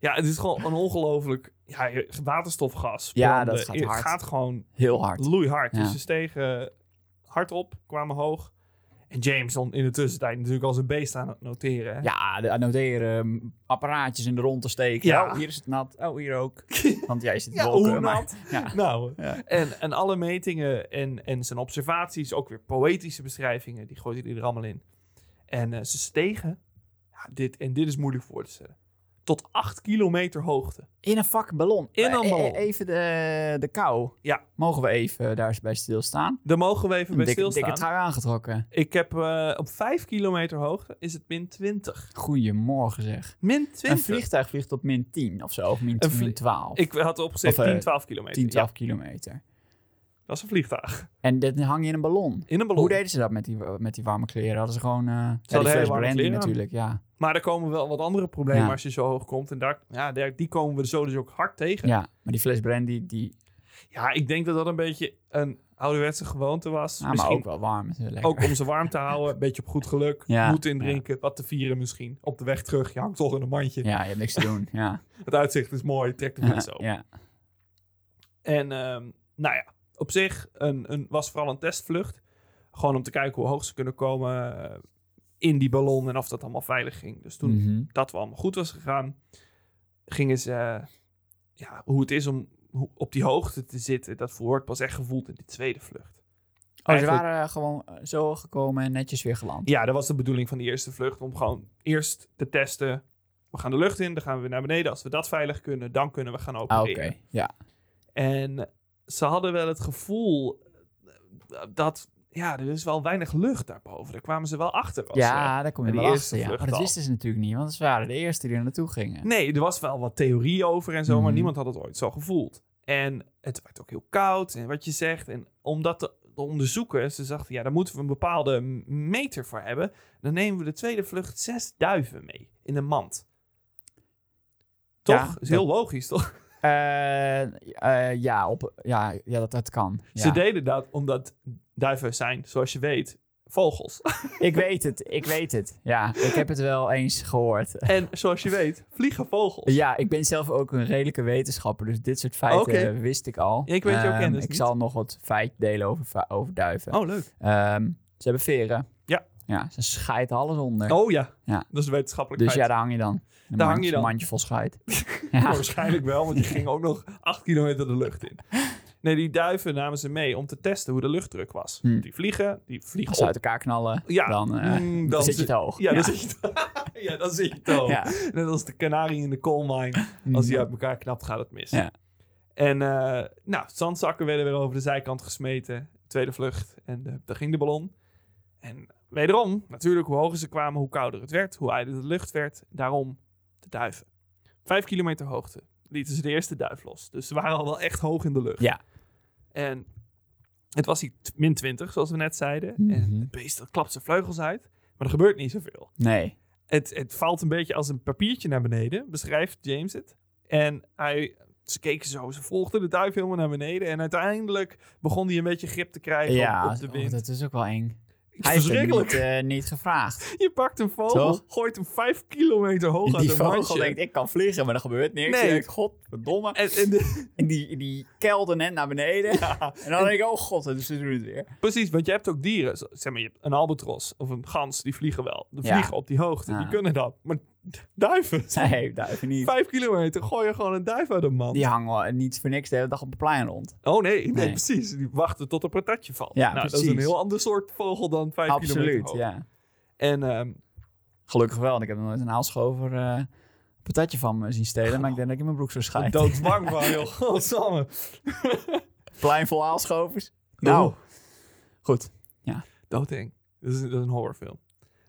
[SPEAKER 1] Ja, het is gewoon een ongelooflijk. Ja, je- waterstofgas.
[SPEAKER 2] Ja,
[SPEAKER 1] branden.
[SPEAKER 2] dat gaat
[SPEAKER 1] Het
[SPEAKER 2] hard.
[SPEAKER 1] gaat gewoon
[SPEAKER 2] Heel hard.
[SPEAKER 1] loeihard.
[SPEAKER 2] Ja.
[SPEAKER 1] Dus ze stegen hard op, kwamen hoog. En James dan in de tussentijd natuurlijk als een beest aan het noteren. hè.
[SPEAKER 2] Ja, de annoteren, m, apparaatjes in de rond te steken.
[SPEAKER 1] Ja.
[SPEAKER 2] Oh, hier is het nat. Oh, hier ook. Want jij zit
[SPEAKER 1] Ja,
[SPEAKER 2] wolken.
[SPEAKER 1] hoe
[SPEAKER 2] maar-
[SPEAKER 1] nat?
[SPEAKER 2] Ja.
[SPEAKER 1] Nou,
[SPEAKER 2] Ja.
[SPEAKER 1] en, en alle metingen en, en zijn observaties, ook weer poëtische beschrijvingen, die gooide hij er allemaal in. En eh, ze stegen, ja, dit, en dit is moeilijk voor te stellen, tot 8 kilometer hoogte.
[SPEAKER 2] In een fucking ballon.
[SPEAKER 1] In een
[SPEAKER 2] Eh, eh,
[SPEAKER 1] ballon.
[SPEAKER 2] Even de, de kou.
[SPEAKER 1] Ja.
[SPEAKER 2] Mogen we even daar eens bij stilstaan?
[SPEAKER 1] Daar mogen we even
[SPEAKER 2] Een
[SPEAKER 1] bij
[SPEAKER 2] dikke,
[SPEAKER 1] stilstaan.
[SPEAKER 2] dikke trui aangetrokken.
[SPEAKER 1] Ik heb eh, op 5 kilometer hoogte is het min 20.
[SPEAKER 2] Goedemorgen zeg.
[SPEAKER 1] Min 20?
[SPEAKER 2] Een vliegtuig vliegt op min 10 of zo. Of min,
[SPEAKER 1] Een vlie-
[SPEAKER 2] min 12.
[SPEAKER 1] Ik had opgezet
[SPEAKER 2] Of, eh,
[SPEAKER 1] 10, 12 kilometer.
[SPEAKER 2] 10, 12
[SPEAKER 1] Ja,
[SPEAKER 2] kilometer.
[SPEAKER 1] dat is een vliegtuig.
[SPEAKER 2] En dit hang je in een ballon.
[SPEAKER 1] In een ballon.
[SPEAKER 2] Hoe deden ze dat met die, met die warme kleren? Hadden ze gewoon... eh ja, die
[SPEAKER 1] hele
[SPEAKER 2] fles
[SPEAKER 1] warme
[SPEAKER 2] brandy
[SPEAKER 1] kleren aan.
[SPEAKER 2] natuurlijk, ja.
[SPEAKER 1] Maar er komen wel wat andere problemen
[SPEAKER 2] Ja.
[SPEAKER 1] als je zo hoog komt. En daar, ja, daar- die komen we zo dus ook hard tegen.
[SPEAKER 2] ja. Maar die fles brandy, die...
[SPEAKER 1] Ja, ik denk dat dat een beetje een ouderwetse gewoonte was.
[SPEAKER 2] Ah, maar
[SPEAKER 1] misschien
[SPEAKER 2] ook
[SPEAKER 1] ook,
[SPEAKER 2] wel warm. natuurlijk.
[SPEAKER 1] om ze warm te houden. Een beetje op goed geluk.
[SPEAKER 2] Ja,
[SPEAKER 1] Moed indrinken. Wat te vieren misschien. Op de weg terug. Je hangt toch in een mandje.
[SPEAKER 2] Ja, je hebt niks te doen. Ja.
[SPEAKER 1] Het uitzicht is mooi. Trek de fiets op.
[SPEAKER 2] ja.
[SPEAKER 1] En ehm, nou ja, op zich een, een, was vooral een testvlucht. Gewoon om te kijken hoe hoog ze kunnen komen eh, in die ballon. En of dat allemaal veilig ging. Dus toen
[SPEAKER 2] Mhm.
[SPEAKER 1] dat wel allemaal goed was gegaan, gingen ze eh, ja, hoe het is om hoe- op die hoogte te zitten. Dat wordt pas echt gevoeld in die tweede vlucht.
[SPEAKER 2] Oh, ze
[SPEAKER 1] Eigenlijk-
[SPEAKER 2] waren eh, gewoon eh, zo gekomen en netjes weer geland.
[SPEAKER 1] Ja, dat was de bedoeling van die eerste vlucht. Om gewoon eerst te testen. We gaan de lucht in, dan gaan we weer naar beneden. Als we dat veilig kunnen, dan kunnen we gaan
[SPEAKER 2] Ah,
[SPEAKER 1] opereren.
[SPEAKER 2] Oké, ja.
[SPEAKER 1] En ze hadden wel het gevoel eh, dat ja, er is wel weinig lucht daarboven. Daar kwamen ze wel achter. als, eh,
[SPEAKER 2] ja, daar kom je
[SPEAKER 1] die
[SPEAKER 2] wel
[SPEAKER 1] eerste
[SPEAKER 2] achter. Ja.
[SPEAKER 1] vlucht
[SPEAKER 2] Maar dat
[SPEAKER 1] al.
[SPEAKER 2] wisten ze natuurlijk niet, want ze waren de eerste die er naartoe gingen.
[SPEAKER 1] Nee, er was wel wat theorie over en zo, maar
[SPEAKER 2] Mhm.
[SPEAKER 1] niemand had het ooit zo gevoeld. En het werd ook heel koud en wat je zegt. En om dat te onderzoeken, ze dachten, ja, daar moeten we een bepaalde m- meter voor hebben. Dan nemen we de tweede vlucht zes duiven mee in een mand. Toch?
[SPEAKER 2] Ja,
[SPEAKER 1] is heel logisch, toch?
[SPEAKER 2] Eh, eh, ja, op, ja, ja dat, dat kan. Ja.
[SPEAKER 1] Ze deden dat omdat duiven zijn, zoals je weet, vogels.
[SPEAKER 2] Ik weet het, ik weet het. Ja, ik heb het wel eens gehoord.
[SPEAKER 1] en zoals je weet, vliegen vogels.
[SPEAKER 2] Ja, ik ben zelf ook een redelijke wetenschapper, dus dit soort feiten
[SPEAKER 1] Oké.
[SPEAKER 2] wist ik al.
[SPEAKER 1] Ja, ik weet jouw
[SPEAKER 2] Ehm,
[SPEAKER 1] kennis
[SPEAKER 2] Ik
[SPEAKER 1] niet.
[SPEAKER 2] zal nog wat feiten delen over, va- over duiven.
[SPEAKER 1] Oh, leuk.
[SPEAKER 2] Ehm, ze hebben veren.
[SPEAKER 1] Ja.
[SPEAKER 2] Ja, ze scheiden alles onder.
[SPEAKER 1] Oh ja,
[SPEAKER 2] Ja.
[SPEAKER 1] dat is wetenschappelijk
[SPEAKER 2] dus ja,
[SPEAKER 1] feit.
[SPEAKER 2] daar hang je dan. Een
[SPEAKER 1] Daar hang
[SPEAKER 2] mandje-
[SPEAKER 1] je dan.
[SPEAKER 2] mandje vol scheid. ja.
[SPEAKER 1] Waarschijnlijk wel, want die ging ook nog 8 kilometer de lucht in. Nee, die duiven namen ze mee om te testen hoe de luchtdruk was.
[SPEAKER 2] Hmm.
[SPEAKER 1] Die vliegen, die vliegen
[SPEAKER 2] Als ze
[SPEAKER 1] op.
[SPEAKER 2] uit elkaar knallen,
[SPEAKER 1] Ja,
[SPEAKER 2] dan, eh,
[SPEAKER 1] mm,
[SPEAKER 2] dan
[SPEAKER 1] dan
[SPEAKER 2] zit je
[SPEAKER 1] zit-
[SPEAKER 2] te hoog.
[SPEAKER 1] Ja, dan zit je het- ja, dan zit je het al.
[SPEAKER 2] Ja.
[SPEAKER 1] Net als de kanarie in de coalmine. Als die uit elkaar knapt, gaat het mis.
[SPEAKER 2] Ja.
[SPEAKER 1] En eh, nou, zandzakken werden weer over de zijkant gesmeten. Tweede vlucht. En eh, daar ging de ballon. En wederom, natuurlijk, hoe hoger ze kwamen, hoe kouder het werd. Hoe ijler de lucht werd. Daarom de duiven. Vijf kilometer hoogte lieten ze de eerste duif los. Dus ze waren al wel echt hoog in de lucht.
[SPEAKER 2] Ja.
[SPEAKER 1] En het was hier t- min 20, zoals we net zeiden. En
[SPEAKER 2] Mhm.
[SPEAKER 1] het beest dat klapt zijn vleugels uit. Maar er gebeurt niet zoveel
[SPEAKER 2] Nee.
[SPEAKER 1] het, het valt een beetje als een papiertje naar beneden, beschrijft James het. En hij, ze keken zo, ze volgden de duif helemaal naar beneden. En uiteindelijk begon hij een beetje grip te krijgen op-
[SPEAKER 2] Ja,
[SPEAKER 1] op, de
[SPEAKER 2] oh,
[SPEAKER 1] wind.
[SPEAKER 2] dat is ook wel eng.
[SPEAKER 1] Het is
[SPEAKER 2] Hij heeft het
[SPEAKER 1] verschrikkelijk.
[SPEAKER 2] niet, eh, niet gevraagd.
[SPEAKER 1] Je pakt een vogel,
[SPEAKER 2] Toch?
[SPEAKER 1] gooit hem vijf kilometer hoog uit
[SPEAKER 2] die
[SPEAKER 1] een
[SPEAKER 2] vogel
[SPEAKER 1] mandje.
[SPEAKER 2] denkt, ik kan vliegen, maar er gebeurt niks.
[SPEAKER 1] Nee.
[SPEAKER 2] Die denkt, godverdomme.
[SPEAKER 1] En, en de-
[SPEAKER 2] En die, die kelder net naar beneden. En dan denk ik, oh god, dus ze doen het weer.
[SPEAKER 1] precies, want je hebt ook dieren. Zo- Zeg maar, je hebt een albatros of een gans, die vliegen wel. Die
[SPEAKER 2] Ja.
[SPEAKER 1] vliegen op die hoogte, die
[SPEAKER 2] Ja.
[SPEAKER 1] kunnen dat. Maar duiven,
[SPEAKER 2] Nee, duiven niet.
[SPEAKER 1] vijf kilometer, gooi je gewoon een duif uit een man.
[SPEAKER 2] Die hangen wel niet voor niks de hele dag op het plein rond.
[SPEAKER 1] Oh nee, nee,
[SPEAKER 2] Nee.
[SPEAKER 1] precies. Die wachten tot een patatje valt.
[SPEAKER 2] Ja,
[SPEAKER 1] nou, dat is een
[SPEAKER 2] precies.
[SPEAKER 1] heel ander soort vogel dan vijf kilometer
[SPEAKER 2] Absoluut,
[SPEAKER 1] hoog.
[SPEAKER 2] ja.
[SPEAKER 1] En ehm,
[SPEAKER 2] Gelukkig wel, want ik heb nog nooit een aalschover eh patatje van me zien
[SPEAKER 1] Oh.
[SPEAKER 2] stelen. Maar ik denk dat ik in mijn broek zou
[SPEAKER 1] ik ben
[SPEAKER 2] schijten.
[SPEAKER 1] doodsbang van, joh, godsamme.
[SPEAKER 2] Plein vol aalschovers. Nou,
[SPEAKER 1] Oeh,
[SPEAKER 2] goed.
[SPEAKER 1] doodeng. Dat is, dat is een horrorfilm.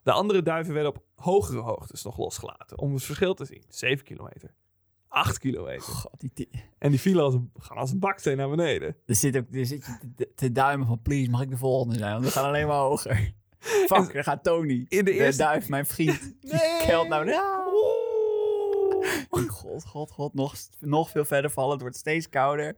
[SPEAKER 1] De andere duiven werden op hogere hoogtes nog losgelaten. Om het verschil te zien. 7 kilometer. 8 kilometer.
[SPEAKER 2] God, die, die-
[SPEAKER 1] En die vielen als een, gaan als een baksteen naar beneden.
[SPEAKER 2] er zit ook er zit je te- te, te duimen van, please, mag ik de volgende zijn? Want we gaan alleen maar hoger. Fuck, daar gaat Tony.
[SPEAKER 1] In de eerste-
[SPEAKER 2] duif, mijn vriend. Die kelt naar beneden. Ah.
[SPEAKER 1] Oeh.
[SPEAKER 2] God, god, god. Nog, nog veel verder vallen. Het wordt steeds kouder.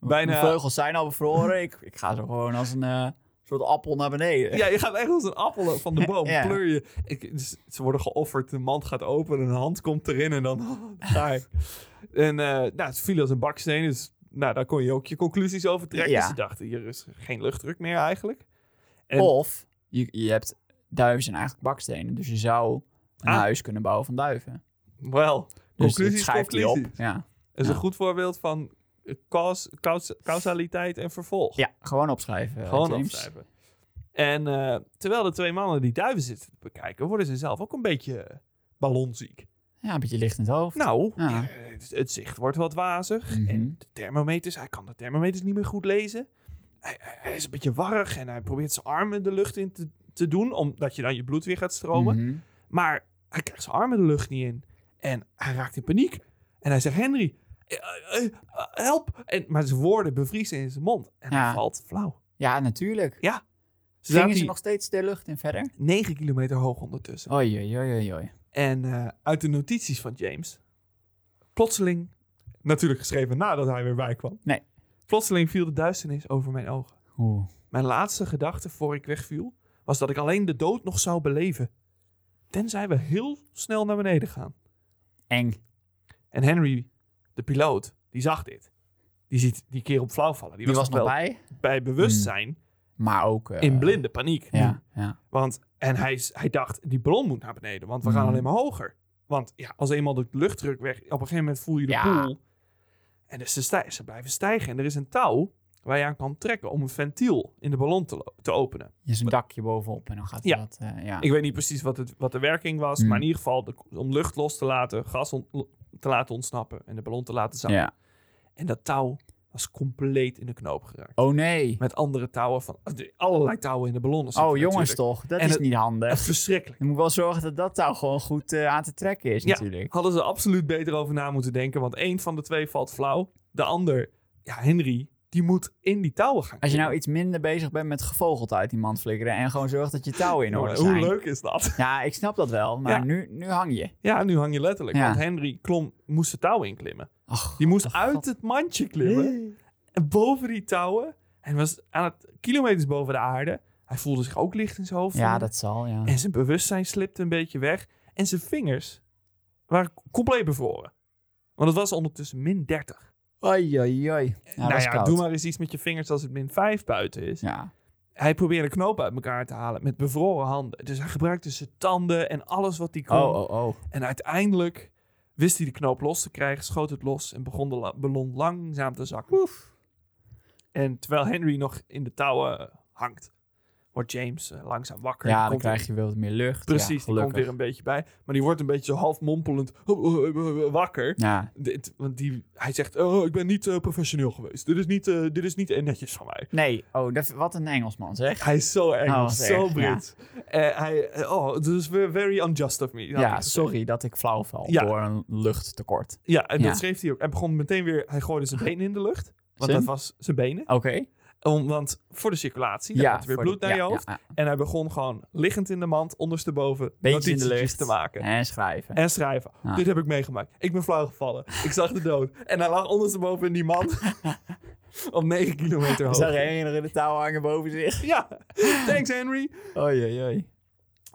[SPEAKER 1] Bijna-
[SPEAKER 2] Mijn vleugels zijn al bevroren. ik, ik ga zo gewoon als een eh, soort appel naar beneden.
[SPEAKER 1] Ja, je gaat echt als een appel van de boom.
[SPEAKER 2] Ja.
[SPEAKER 1] Pleur je. Ik, dus ze worden geofferd, de mand gaat open, een hand komt erin en dan ga ik. En eh nou, ze vielen als een baksteen, dus nou, daar kon je ook je conclusies over trekken.
[SPEAKER 2] Ja.
[SPEAKER 1] Ze dachten, hier is geen luchtdruk meer eigenlijk. En-
[SPEAKER 2] Of je, je hebt duiven zijn eigenlijk bakstenen. Dus je zou een
[SPEAKER 1] Ah.
[SPEAKER 2] huis kunnen bouwen van duiven.
[SPEAKER 1] Wel,
[SPEAKER 2] Dus
[SPEAKER 1] conclusies,
[SPEAKER 2] schrijft hij
[SPEAKER 1] conclusies.
[SPEAKER 2] op. Ja.
[SPEAKER 1] Dat is
[SPEAKER 2] Ja.
[SPEAKER 1] een goed voorbeeld van eh, caus, caus, causaliteit en vervolg.
[SPEAKER 2] ja, gewoon opschrijven. eh,
[SPEAKER 1] Gewoon
[SPEAKER 2] James.
[SPEAKER 1] opschrijven. En eh, terwijl de twee mannen die duiven zitten te bekijken, worden ze zelf ook een beetje ballonziek.
[SPEAKER 2] Ja, een beetje licht in het hoofd.
[SPEAKER 1] Nou,
[SPEAKER 2] Ja.
[SPEAKER 1] eh, het, het zicht wordt wat wazig.
[SPEAKER 2] Ah. Mhm.
[SPEAKER 1] En de thermometers, hij kan de thermometers niet meer goed lezen. Hij, hij- hij is een beetje warrig en hij probeert zijn armen de lucht in te, te doen, omdat je dan je bloed weer gaat stromen.
[SPEAKER 2] Mhm.
[SPEAKER 1] Maar hij krijgt zijn armen de lucht niet in. En hij raakt in paniek. En hij zegt, Henry, eh, eh, eh, help! En, maar zijn woorden bevriezen in zijn mond. En hij
[SPEAKER 2] Ja.
[SPEAKER 1] valt flauw.
[SPEAKER 2] Ja, natuurlijk.
[SPEAKER 1] Ze
[SPEAKER 2] Gingen
[SPEAKER 1] zaten
[SPEAKER 2] ze
[SPEAKER 1] hier
[SPEAKER 2] nog steeds de lucht in verder?
[SPEAKER 1] 9 kilometer hoog ondertussen.
[SPEAKER 2] Oei, oei, oei, oei, oei.
[SPEAKER 1] En eh, uit de notities van James, plotseling, natuurlijk geschreven nadat hij weer bijkwam.
[SPEAKER 2] Nee.
[SPEAKER 1] Plotseling viel de duisternis over mijn ogen.
[SPEAKER 2] Oeh.
[SPEAKER 1] Mijn laatste gedachte voor ik wegviel was dat ik alleen de dood nog zou beleven. Tenzij we heel snel naar beneden gaan.
[SPEAKER 2] Eng.
[SPEAKER 1] En Henry, de piloot, die zag dit. Die ziet die keer op flauw vallen. Die,
[SPEAKER 2] Die was
[SPEAKER 1] nog
[SPEAKER 2] nog
[SPEAKER 1] wel
[SPEAKER 2] bij,
[SPEAKER 1] bij Hmm. bewustzijn
[SPEAKER 2] maar ook... eh,
[SPEAKER 1] in blinde paniek.
[SPEAKER 2] Ja, ja.
[SPEAKER 1] Want, en hij, is- hij dacht, die ballon moet naar beneden, want we gaan
[SPEAKER 2] Mhm.
[SPEAKER 1] alleen maar hoger. Want ja, als eenmaal de luchtdruk weg, op een gegeven moment voel je de
[SPEAKER 2] Ja.
[SPEAKER 1] poel. En dus ze, stij- ze blijven stijgen. En er is een touw waar je aan kan trekken om een ventiel in de ballon te, lo- te openen.
[SPEAKER 2] Je zo'n dakje bovenop en dan gaat
[SPEAKER 1] Ja.
[SPEAKER 2] dat... eh, ja.
[SPEAKER 1] Ik weet niet precies wat, het, wat de werking was,
[SPEAKER 2] Mhm.
[SPEAKER 1] maar in ieder geval de- om lucht los te laten, gas ont- te laten ontsnappen en de ballon te laten zakken.
[SPEAKER 2] ja.
[SPEAKER 1] En dat touw was compleet in de knoop geraakt.
[SPEAKER 2] Oh nee.
[SPEAKER 1] Met andere touwen van allerlei touwen in de ballonnen. zitten
[SPEAKER 2] Oh jongens
[SPEAKER 1] natuurlijk.
[SPEAKER 2] toch, dat
[SPEAKER 1] En
[SPEAKER 2] is
[SPEAKER 1] het-
[SPEAKER 2] niet handig.
[SPEAKER 1] Echt verschrikkelijk.
[SPEAKER 2] Je moet wel zorgen dat dat touw gewoon goed eh, aan te trekken is
[SPEAKER 1] Ja.
[SPEAKER 2] natuurlijk.
[SPEAKER 1] Hadden ze absoluut beter over na moeten denken, want één van de twee valt flauw. De ander, ja, Henry, die moet in die touwen gaan.
[SPEAKER 2] Als je nou
[SPEAKER 1] klimmen.
[SPEAKER 2] iets minder bezig bent met gevogeld uit die mand flikkeren en gewoon zorgt dat je touwen nou in orde
[SPEAKER 1] Jongen,
[SPEAKER 2] zijn.
[SPEAKER 1] Hoe leuk is dat?
[SPEAKER 2] Ja, ik snap dat wel, maar
[SPEAKER 1] Ja.
[SPEAKER 2] nu, nu hang je.
[SPEAKER 1] Ja, nu hang je letterlijk,
[SPEAKER 2] Ja.
[SPEAKER 1] want Henry klom, moest de touw inklimmen.
[SPEAKER 2] Ach,
[SPEAKER 1] Die moest
[SPEAKER 2] Oh,
[SPEAKER 1] uit
[SPEAKER 2] God.
[SPEAKER 1] het mandje klimmen. En boven die touwen. En was aan het kilometers boven de aarde. Hij voelde zich ook licht in zijn hoofd.
[SPEAKER 2] ja, dat zal, ja.
[SPEAKER 1] En zijn bewustzijn slipte een beetje weg. En zijn vingers waren compleet bevroren. Want het was ondertussen min 30.
[SPEAKER 2] Oei, oei, oei. Ja, dat
[SPEAKER 1] nou
[SPEAKER 2] is
[SPEAKER 1] ja,
[SPEAKER 2] koud.
[SPEAKER 1] doe maar eens iets met je vingers als het min 5 buiten is.
[SPEAKER 2] Ja.
[SPEAKER 1] Hij probeerde knopen uit elkaar te halen met bevroren handen. Dus hij gebruikte zijn tanden en alles wat hij kon.
[SPEAKER 2] Oh, oh, oh.
[SPEAKER 1] En uiteindelijk wist hij de knoop los te krijgen, schoot het los en begon de la- ballon langzaam te zakken. En terwijl Henry nog in de touwen hangt, wordt James eh, langzaam wakker.
[SPEAKER 2] Ja,
[SPEAKER 1] Die
[SPEAKER 2] dan
[SPEAKER 1] komt
[SPEAKER 2] krijg je wel wat meer lucht.
[SPEAKER 1] weer- Precies,
[SPEAKER 2] ja,
[SPEAKER 1] die komt
[SPEAKER 2] gelukkig.
[SPEAKER 1] weer een beetje bij. Maar die wordt een beetje zo half mompelend wakker.
[SPEAKER 2] Ja,
[SPEAKER 1] Dit, want die, hij zegt, oh, ik ben niet eh, professioneel geweest. Dit is niet, eh, dit is niet eh, netjes van mij.
[SPEAKER 2] nee. Oh, dat, wat een Engelsman zeg.
[SPEAKER 1] Hij is zo
[SPEAKER 2] Oh,
[SPEAKER 1] Engels,
[SPEAKER 2] wat erg,
[SPEAKER 1] zo
[SPEAKER 2] ja.
[SPEAKER 1] Brits. Eh, hij, eh, oh, this is very unjust of me. Nou, had hij
[SPEAKER 2] Ja,
[SPEAKER 1] gezegd.
[SPEAKER 2] sorry dat ik flauw val
[SPEAKER 1] Ja.
[SPEAKER 2] door een luchttekort.
[SPEAKER 1] Ja, en
[SPEAKER 2] Ja.
[SPEAKER 1] dat schreef hij ook. Hij begon meteen weer, hij gooide zijn benen in de lucht. Want
[SPEAKER 2] Zijn?
[SPEAKER 1] dat was zijn benen.
[SPEAKER 2] Oké.
[SPEAKER 1] Om, want voor de circulatie, dan gaat er weer
[SPEAKER 2] voor de-
[SPEAKER 1] bloed naar
[SPEAKER 2] ja,
[SPEAKER 1] je hoofd.
[SPEAKER 2] ja, ja.
[SPEAKER 1] En hij begon gewoon liggend in de mand, ondersteboven,
[SPEAKER 2] Beentjes in de
[SPEAKER 1] notitietjes
[SPEAKER 2] lucht. Ah.
[SPEAKER 1] te maken.
[SPEAKER 2] En schrijven.
[SPEAKER 1] En schrijven.
[SPEAKER 2] Ja.
[SPEAKER 1] Dit heb ik meegemaakt. Ik ben flauw gevallen. Ik zag de dood. En hij lag ondersteboven in die mand. op 9 kilometer
[SPEAKER 2] Ik zag
[SPEAKER 1] hoog.
[SPEAKER 2] Henry de touw hangen boven zich.
[SPEAKER 1] Ja, thanks Henry.
[SPEAKER 2] Oei, oei, oei.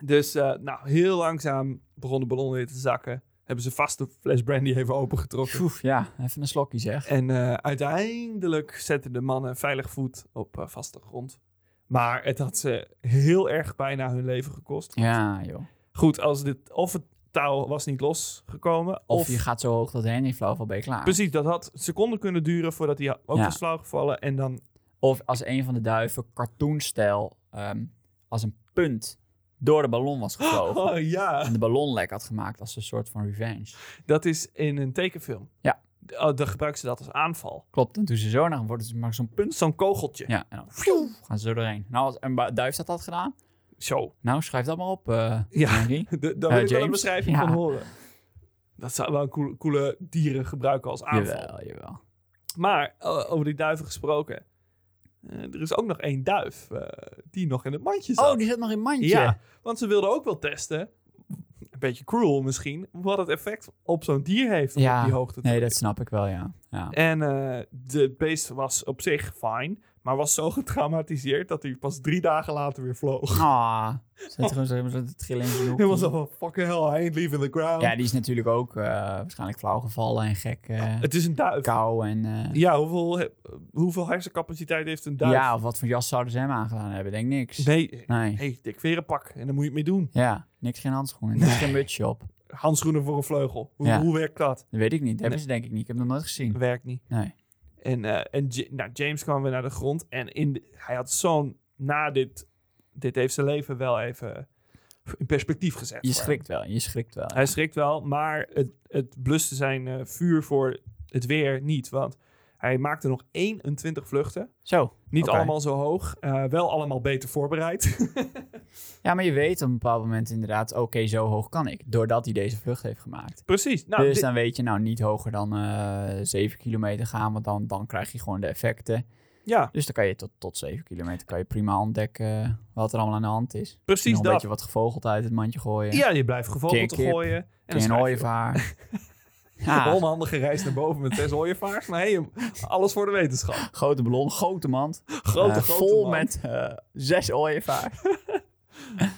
[SPEAKER 1] Dus eh, nou, heel langzaam begon de ballon weer te zakken. Hebben ze vast de fles brandy even opengetrokken.
[SPEAKER 2] Poef, ja, even een slokje zeg.
[SPEAKER 1] En eh, uiteindelijk zetten de mannen veilig voet op eh, vaste grond. Maar het had ze heel erg bijna hun leven gekost.
[SPEAKER 2] Ja, joh.
[SPEAKER 1] Goed, als dit, of het touw was niet losgekomen,
[SPEAKER 2] Of,
[SPEAKER 1] of...
[SPEAKER 2] je gaat zo hoog dat Henry flauw valt, ben je klaar.
[SPEAKER 1] Precies, dat had seconden kunnen duren voordat hij ook
[SPEAKER 2] Ja.
[SPEAKER 1] was flauwgevallen. En dan,
[SPEAKER 2] Of als een van de duiven cartoonstijl ehm, als een punt door de ballon was gevlogen.
[SPEAKER 1] oh ja,
[SPEAKER 2] En de ballon lek had gemaakt als een soort van revenge.
[SPEAKER 1] dat is in een tekenfilm.
[SPEAKER 2] Ja.
[SPEAKER 1] D- oh, dan gebruiken ze dat als aanval.
[SPEAKER 2] Klopt, en toen ze zo naar hem worden, ze maar zo'n punt.
[SPEAKER 1] Zo'n kogeltje.
[SPEAKER 2] Ja, en dan pfiou, gaan ze zo doorheen. Nou, als een ba- duif dat had gedaan,
[SPEAKER 1] Zo.
[SPEAKER 2] nou schrijf dat maar op, eh,
[SPEAKER 1] Ja.
[SPEAKER 2] Henry.
[SPEAKER 1] D- Daar wil
[SPEAKER 2] Eh,
[SPEAKER 1] ik wel een
[SPEAKER 2] James?
[SPEAKER 1] beschrijving
[SPEAKER 2] Ja.
[SPEAKER 1] van horen. Dat zou wel een coole, coole dieren gebruiken als aanval.
[SPEAKER 2] Jawel, jawel.
[SPEAKER 1] Maar eh, over die duiven gesproken. Eh, er is ook nog één duif eh, die nog in het mandje zat.
[SPEAKER 2] Oh, die zit nog in het mandje.
[SPEAKER 1] ja, want ze wilden ook wel testen. Een beetje cruel misschien. Wat het effect op zo'n dier heeft om
[SPEAKER 2] Ja,
[SPEAKER 1] op die hoogte te
[SPEAKER 2] Nee, dat
[SPEAKER 1] liggen.
[SPEAKER 2] snap ik wel, ja. ja.
[SPEAKER 1] En eh de beest was op zich fijn. Maar was zo getraumatiseerd dat hij pas drie dagen later weer vloog.
[SPEAKER 2] Ah, zit gewoon zo met het trillen in zijn hoekje.
[SPEAKER 1] Hij was al van fucking hell, I ain't leaving the ground.
[SPEAKER 2] Ja, die is natuurlijk ook eh, waarschijnlijk flauw gevallen en gek. eh,
[SPEAKER 1] Het is een duif.
[SPEAKER 2] kou en... eh,
[SPEAKER 1] Ja, hoeveel, he- hoeveel hersencapaciteit heeft een duif?
[SPEAKER 2] ja, of wat voor jas zouden ze hem aangedaan hebben? Denk niks.
[SPEAKER 1] Nee,
[SPEAKER 2] Nee.
[SPEAKER 1] hey, dik verenpak. En daar moet je het mee doen.
[SPEAKER 2] Ja, niks geen handschoenen, niks geen mutsje op.
[SPEAKER 1] Handschoenen voor een vleugel. Hoe,
[SPEAKER 2] Ja.
[SPEAKER 1] hoe werkt dat?
[SPEAKER 2] Dat weet ik niet. Dat hebben ze denk ik niet. Ik heb het nog nooit gezien.
[SPEAKER 1] Werkt niet.
[SPEAKER 2] Nee.
[SPEAKER 1] En, eh, en Ja- nou, James kwam weer naar de grond. En in de- hij had zo'n... Na dit... Dit heeft zijn leven wel even in perspectief gezet.
[SPEAKER 2] Je
[SPEAKER 1] voor hem.
[SPEAKER 2] schrikt wel, je schrikt wel.
[SPEAKER 1] Hij schrikt wel, maar het, het bluste zijn eh, vuur voor het weer niet. Want hij maakte nog 21 vluchten.
[SPEAKER 2] Zo.
[SPEAKER 1] Niet
[SPEAKER 2] Oké.
[SPEAKER 1] allemaal zo hoog. eh, wel allemaal beter voorbereid.
[SPEAKER 2] Ja, maar je weet op een bepaald moment inderdaad, oké, zo hoog kan ik. Doordat hij deze vlucht heeft gemaakt.
[SPEAKER 1] Precies. Nou,
[SPEAKER 2] dus
[SPEAKER 1] dit-
[SPEAKER 2] dan weet je, nou, niet hoger dan eh 7 kilometer gaan, want dan, dan krijg je gewoon de effecten.
[SPEAKER 1] ja,
[SPEAKER 2] Dus dan kan je tot, tot 7 kilometer kan je prima ontdekken eh, wat er allemaal aan de hand is. Misschien
[SPEAKER 1] precies
[SPEAKER 2] nog een
[SPEAKER 1] dat.
[SPEAKER 2] beetje wat gevogeld uit het mandje gooien.
[SPEAKER 1] Ja, je blijft
[SPEAKER 2] Keer
[SPEAKER 1] gevogeld te
[SPEAKER 2] kip,
[SPEAKER 1] gooien. En
[SPEAKER 2] Geen
[SPEAKER 1] schrijf je op.
[SPEAKER 2] ooievaar. ja,
[SPEAKER 1] Onhandige reis naar boven met zes ooievaars. Maar hey, alles voor de wetenschap.
[SPEAKER 2] grote ballon, grote mand.
[SPEAKER 1] Grote,
[SPEAKER 2] eh,
[SPEAKER 1] grote
[SPEAKER 2] vol
[SPEAKER 1] man.
[SPEAKER 2] met eh, zes ooievaars.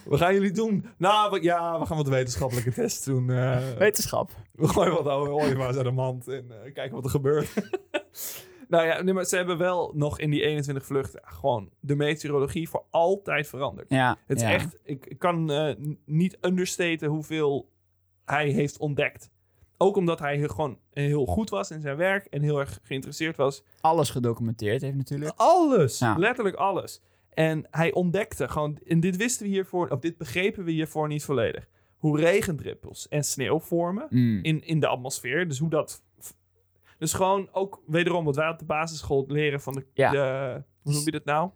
[SPEAKER 1] We gaan jullie doen. Nou, we- ja, we gaan wat wetenschappelijke tests doen. eh.
[SPEAKER 2] Wetenschap.
[SPEAKER 1] We gooien wat oude ooievaars uit de mand en eh, kijken wat er gebeurt. nou ja, nee, maar ze hebben wel nog in die 21 vluchten gewoon de meteorologie voor altijd veranderd.
[SPEAKER 2] Ja,
[SPEAKER 1] Het is
[SPEAKER 2] ja.
[SPEAKER 1] echt, ik ik kan eh, n- niet understaten hoeveel hij heeft ontdekt. Ook omdat hij heel- gewoon heel goed was in zijn werk en heel erg geïnteresseerd was.
[SPEAKER 2] alles gedocumenteerd heeft natuurlijk.
[SPEAKER 1] Alles,
[SPEAKER 2] Ja.
[SPEAKER 1] letterlijk alles. En hij ontdekte gewoon, en dit wisten we hiervoor, of dit begrepen we hiervoor niet volledig. Hoe regendruppels en sneeuw vormen
[SPEAKER 2] Mm.
[SPEAKER 1] in, in de atmosfeer. Dus hoe dat. Dus gewoon ook wederom wat wij op de basisschool leren van de...
[SPEAKER 2] Ja.
[SPEAKER 1] de- hoe noem je dat nou?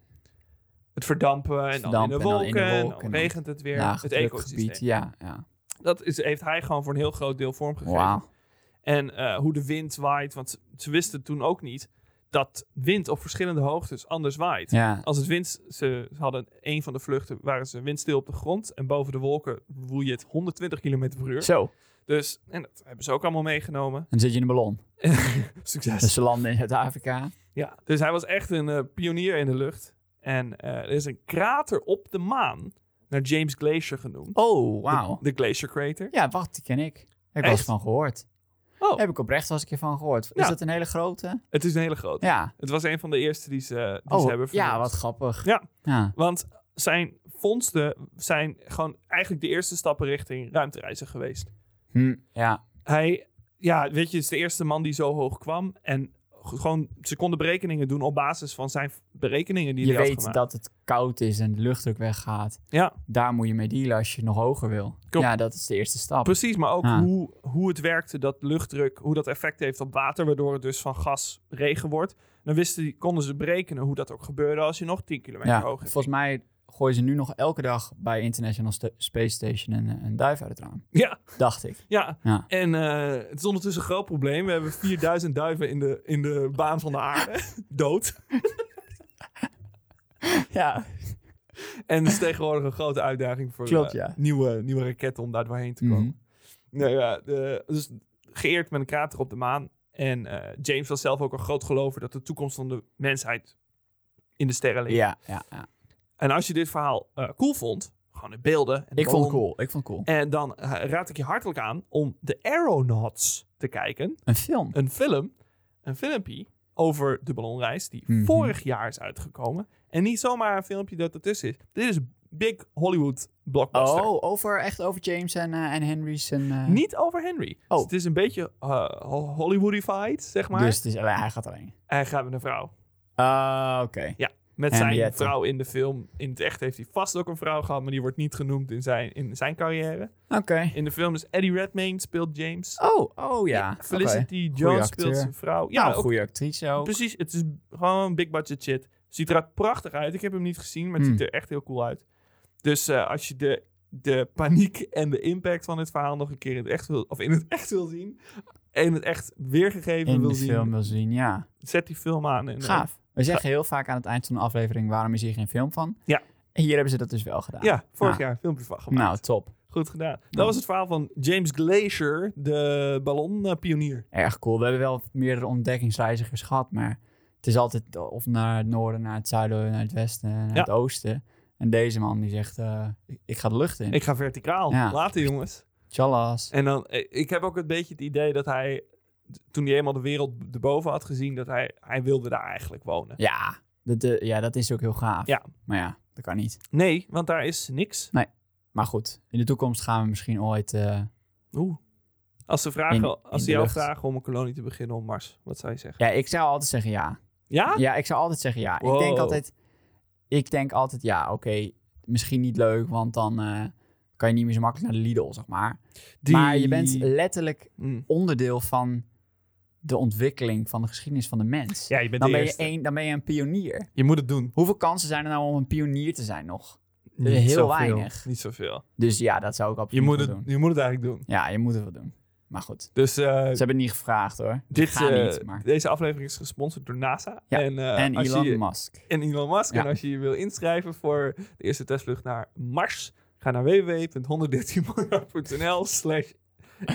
[SPEAKER 1] Het verdampen en
[SPEAKER 2] Verdampen
[SPEAKER 1] dan in de wolken. En dan,
[SPEAKER 2] wolken en dan-
[SPEAKER 1] regent het weer.
[SPEAKER 2] ja,
[SPEAKER 1] het
[SPEAKER 2] druk
[SPEAKER 1] ecosysteem.
[SPEAKER 2] gebied. Ja, ja.
[SPEAKER 1] Dat is, heeft hij gewoon voor een heel groot deel vormgegeven.
[SPEAKER 2] Wauw.
[SPEAKER 1] En eh, hoe de wind waait. Want ze, ze wisten toen ook niet dat wind op verschillende hoogtes anders waait.
[SPEAKER 2] Ja,
[SPEAKER 1] Als het wind... Ze, ze hadden een van de vluchten... waren ze windstil op de grond. En boven de wolken woei je het 120 km per uur.
[SPEAKER 2] zo.
[SPEAKER 1] Dus... En dat hebben ze ook allemaal meegenomen.
[SPEAKER 2] Dan zit je in een ballon.
[SPEAKER 1] Succes.
[SPEAKER 2] Dus ze landen in Zuid-Afrika.
[SPEAKER 1] Ja, dus hij was echt een eh, pionier in de lucht. En eh, er is een krater op de maan naar James Glacier genoemd.
[SPEAKER 2] Oh,
[SPEAKER 1] De-
[SPEAKER 2] wauw.
[SPEAKER 1] De, Glacier Crater.
[SPEAKER 2] Ja, wacht, die ken ik. Heb ik
[SPEAKER 1] Echt?
[SPEAKER 2] wel eens van gehoord.
[SPEAKER 1] Oh.
[SPEAKER 2] Heb ik oprecht wel eens een keer van gehoord. Is
[SPEAKER 1] Ja.
[SPEAKER 2] dat een hele grote?
[SPEAKER 1] Het is een hele grote.
[SPEAKER 2] Ja.
[SPEAKER 1] Het was een van de eerste die ze, die ze
[SPEAKER 2] Oh,
[SPEAKER 1] hebben vernoemd.
[SPEAKER 2] ja, wat grappig.
[SPEAKER 1] Ja.
[SPEAKER 2] ja.
[SPEAKER 1] Want zijn vondsten zijn gewoon eigenlijk de eerste stappen richting ruimtereizen geweest.
[SPEAKER 2] Hm, ja.
[SPEAKER 1] Hij, ja, weet je, is de eerste man die zo hoog kwam. En g- gewoon, ze konden berekeningen doen op basis van zijn berekeningen die
[SPEAKER 2] je
[SPEAKER 1] hij had
[SPEAKER 2] weet
[SPEAKER 1] gemaakt.
[SPEAKER 2] dat het koud is en de luchtdruk weggaat.
[SPEAKER 1] Ja.
[SPEAKER 2] Daar moet je mee dealen als je nog hoger wil.
[SPEAKER 1] Klopt.
[SPEAKER 2] Ja, dat is de eerste stap.
[SPEAKER 1] Precies, maar ook
[SPEAKER 2] Ah.
[SPEAKER 1] hoe, hoe het werkte, dat luchtdruk, hoe dat effect heeft op water, waardoor het dus van gas regen wordt. Dan wisten, die- konden ze berekenen hoe dat ook gebeurde als je nog 10 kilometer
[SPEAKER 2] ja.
[SPEAKER 1] hoger
[SPEAKER 2] Volgens mij gooien ze nu nog elke dag bij International Sta- Space Station een, een duif uit het raam.
[SPEAKER 1] ging. Ja,
[SPEAKER 2] Dacht ik.
[SPEAKER 1] ja.
[SPEAKER 2] Ja.
[SPEAKER 1] En eh, het is ondertussen een groot probleem. We hebben 4000 duiven in de, in de baan van de aarde, dood.
[SPEAKER 2] Ja,
[SPEAKER 1] En het is tegenwoordig een grote uitdaging voor
[SPEAKER 2] Klopt,
[SPEAKER 1] eh,
[SPEAKER 2] ja.
[SPEAKER 1] nieuwe, nieuwe raketten om daar doorheen te
[SPEAKER 2] Mhm.
[SPEAKER 1] komen. Nou ja, de- dus geëerd met een krater op de maan. En eh, James was zelf ook een groot gelover dat de toekomst van de mensheid in de sterren ligt.
[SPEAKER 2] ja, ja, ja.
[SPEAKER 1] En als je dit verhaal eh, cool vond, gewoon in beelden. En
[SPEAKER 2] Ik vond het
[SPEAKER 1] ballon,
[SPEAKER 2] cool. Ik vond het cool.
[SPEAKER 1] En dan eh, raad ik je hartelijk aan om The Aeronauts te kijken.
[SPEAKER 2] Een film.
[SPEAKER 1] Een film, een filmpje over de ballonreis die
[SPEAKER 2] Mhm.
[SPEAKER 1] vorig jaar is uitgekomen. En niet zomaar een filmpje dat ertussen is. Dit is Big Hollywood Blockbuster.
[SPEAKER 2] Oh, over, echt over James en, eh, en Henry's. En, eh,
[SPEAKER 1] Niet over Henry.
[SPEAKER 2] Oh.
[SPEAKER 1] Dus het is een beetje eh, ho- Hollywoodified, zeg maar.
[SPEAKER 2] Dus het is, hij gaat alleen.
[SPEAKER 1] Hij gaat met een vrouw.
[SPEAKER 2] Ah, oké.
[SPEAKER 1] Met zijn
[SPEAKER 2] Henriette.
[SPEAKER 1] vrouw in de film. In het echt heeft hij vast ook een vrouw gehad, maar die wordt niet genoemd in zijn, in zijn carrière.
[SPEAKER 2] Oké.
[SPEAKER 1] In de film is Eddie Redmayne speelt James.
[SPEAKER 2] Oh, oh ja. oké.
[SPEAKER 1] Felicity
[SPEAKER 2] Goeie
[SPEAKER 1] Jones
[SPEAKER 2] acteur.
[SPEAKER 1] speelt zijn vrouw.
[SPEAKER 2] Ja,
[SPEAKER 1] Ja,
[SPEAKER 2] een
[SPEAKER 1] ook-
[SPEAKER 2] goede actrice ook.
[SPEAKER 1] precies. Het is gewoon big budget shit. Ziet eruit prachtig uit. Ik heb hem niet gezien, maar het
[SPEAKER 2] Hmm.
[SPEAKER 1] ziet er echt heel cool uit. Dus eh, als je de, de paniek en de impact van dit verhaal nog een keer in het echt wil, of in het echt wil zien, en in het echt weergegeven
[SPEAKER 2] In
[SPEAKER 1] wil
[SPEAKER 2] de
[SPEAKER 1] zien,
[SPEAKER 2] film wil zien, ja.
[SPEAKER 1] zet die film aan. En, eh,
[SPEAKER 2] Gaaf. We zeggen heel vaak aan het eind van de aflevering waarom is hier geen film van.
[SPEAKER 1] Ja.
[SPEAKER 2] En hier hebben ze dat dus wel gedaan.
[SPEAKER 1] ja, vorig
[SPEAKER 2] Ah.
[SPEAKER 1] jaar een filmpje van gemaakt.
[SPEAKER 2] Nou, top.
[SPEAKER 1] Goed gedaan. Dat
[SPEAKER 2] Nou.
[SPEAKER 1] was het verhaal van James Glacier, de ballonpionier.
[SPEAKER 2] Erg cool. We hebben wel meerdere ontdekkingsreizigers gehad, maar het is altijd of naar het noorden, naar het zuiden, naar het westen, naar
[SPEAKER 1] Ja.
[SPEAKER 2] het oosten. En deze man die zegt, eh, ik- ik ga de lucht in.
[SPEAKER 1] Ik ga verticaal.
[SPEAKER 2] Ja.
[SPEAKER 1] Later, jongens.
[SPEAKER 2] Tjallas.
[SPEAKER 1] En dan, eh, ik heb ook een beetje het idee dat hij, d- toen hij eenmaal de wereld b- erboven had gezien, dat hij, hij wilde daar eigenlijk wonen.
[SPEAKER 2] Ja dat, eh, ja, dat is ook heel gaaf.
[SPEAKER 1] Ja.
[SPEAKER 2] Maar ja, dat kan niet.
[SPEAKER 1] Nee, want daar is niks.
[SPEAKER 2] Maar goed, in de toekomst gaan we misschien ooit... eh,
[SPEAKER 1] Oeh. Als ze, vragen,
[SPEAKER 2] In- in
[SPEAKER 1] als ze
[SPEAKER 2] de
[SPEAKER 1] jou
[SPEAKER 2] lucht.
[SPEAKER 1] vragen om een kolonie te beginnen op Mars, wat zou je zeggen?
[SPEAKER 2] Ja, ik zou altijd zeggen ja.
[SPEAKER 1] Ja?
[SPEAKER 2] Ja, ik zou altijd zeggen ja. Ik
[SPEAKER 1] Ah. Wow.
[SPEAKER 2] denk altijd, ik denk altijd ja, oké, misschien niet leuk, want dan eh, kan je niet meer zo makkelijk naar de Lidl, zeg maar.
[SPEAKER 1] Die-
[SPEAKER 2] Maar je bent eh, letterlijk
[SPEAKER 1] Mm.
[SPEAKER 2] onderdeel van de ontwikkeling van de geschiedenis van de mens.
[SPEAKER 1] Ja, je bent
[SPEAKER 2] dan,
[SPEAKER 1] de
[SPEAKER 2] ben je
[SPEAKER 1] eerste.
[SPEAKER 2] een, dan ben je een pionier.
[SPEAKER 1] Je moet het doen.
[SPEAKER 2] Hoeveel kansen zijn er nou om een pionier te zijn nog?
[SPEAKER 1] Niet
[SPEAKER 2] Eh, heel
[SPEAKER 1] zoveel.
[SPEAKER 2] weinig.
[SPEAKER 1] Niet zoveel.
[SPEAKER 2] Dus ja, dat zou ik
[SPEAKER 1] Je
[SPEAKER 2] absoluut
[SPEAKER 1] moet,
[SPEAKER 2] wel
[SPEAKER 1] het,
[SPEAKER 2] doen.
[SPEAKER 1] je moet het eigenlijk doen.
[SPEAKER 2] Ja, je moet het wel doen. Maar goed, ze
[SPEAKER 1] Dus eh,
[SPEAKER 2] hebben het niet gevraagd hoor.
[SPEAKER 1] dit,
[SPEAKER 2] gaan
[SPEAKER 1] eh,
[SPEAKER 2] niet, maar-
[SPEAKER 1] deze aflevering is gesponsord door NASA.
[SPEAKER 2] Ja,
[SPEAKER 1] En, eh,
[SPEAKER 2] en
[SPEAKER 1] als
[SPEAKER 2] Elon
[SPEAKER 1] je,
[SPEAKER 2] Musk.
[SPEAKER 1] en Elon Musk.
[SPEAKER 2] Ja.
[SPEAKER 1] En als je je wil inschrijven voor de eerste testvlucht naar Mars, ga naar www.113miljard.nl slash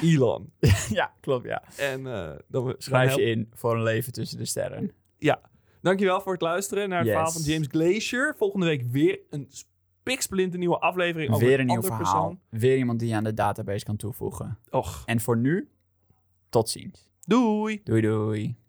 [SPEAKER 1] Elon.
[SPEAKER 2] ja, klopt ja.
[SPEAKER 1] En eh, dan we-
[SPEAKER 2] Schrijf
[SPEAKER 1] dan
[SPEAKER 2] je
[SPEAKER 1] help-
[SPEAKER 2] in voor een leven tussen de sterren.
[SPEAKER 1] Dankjewel voor het luisteren naar het
[SPEAKER 2] Yes.
[SPEAKER 1] verhaal van James Glacier. Volgende week weer een spiksplinter nieuwe aflevering over
[SPEAKER 2] Weer een nieuw
[SPEAKER 1] ander
[SPEAKER 2] verhaal. Weer iemand die je aan de database kan toevoegen.
[SPEAKER 1] persoon. Och,
[SPEAKER 2] En voor nu, tot ziens.
[SPEAKER 1] doei!
[SPEAKER 2] Doei doei.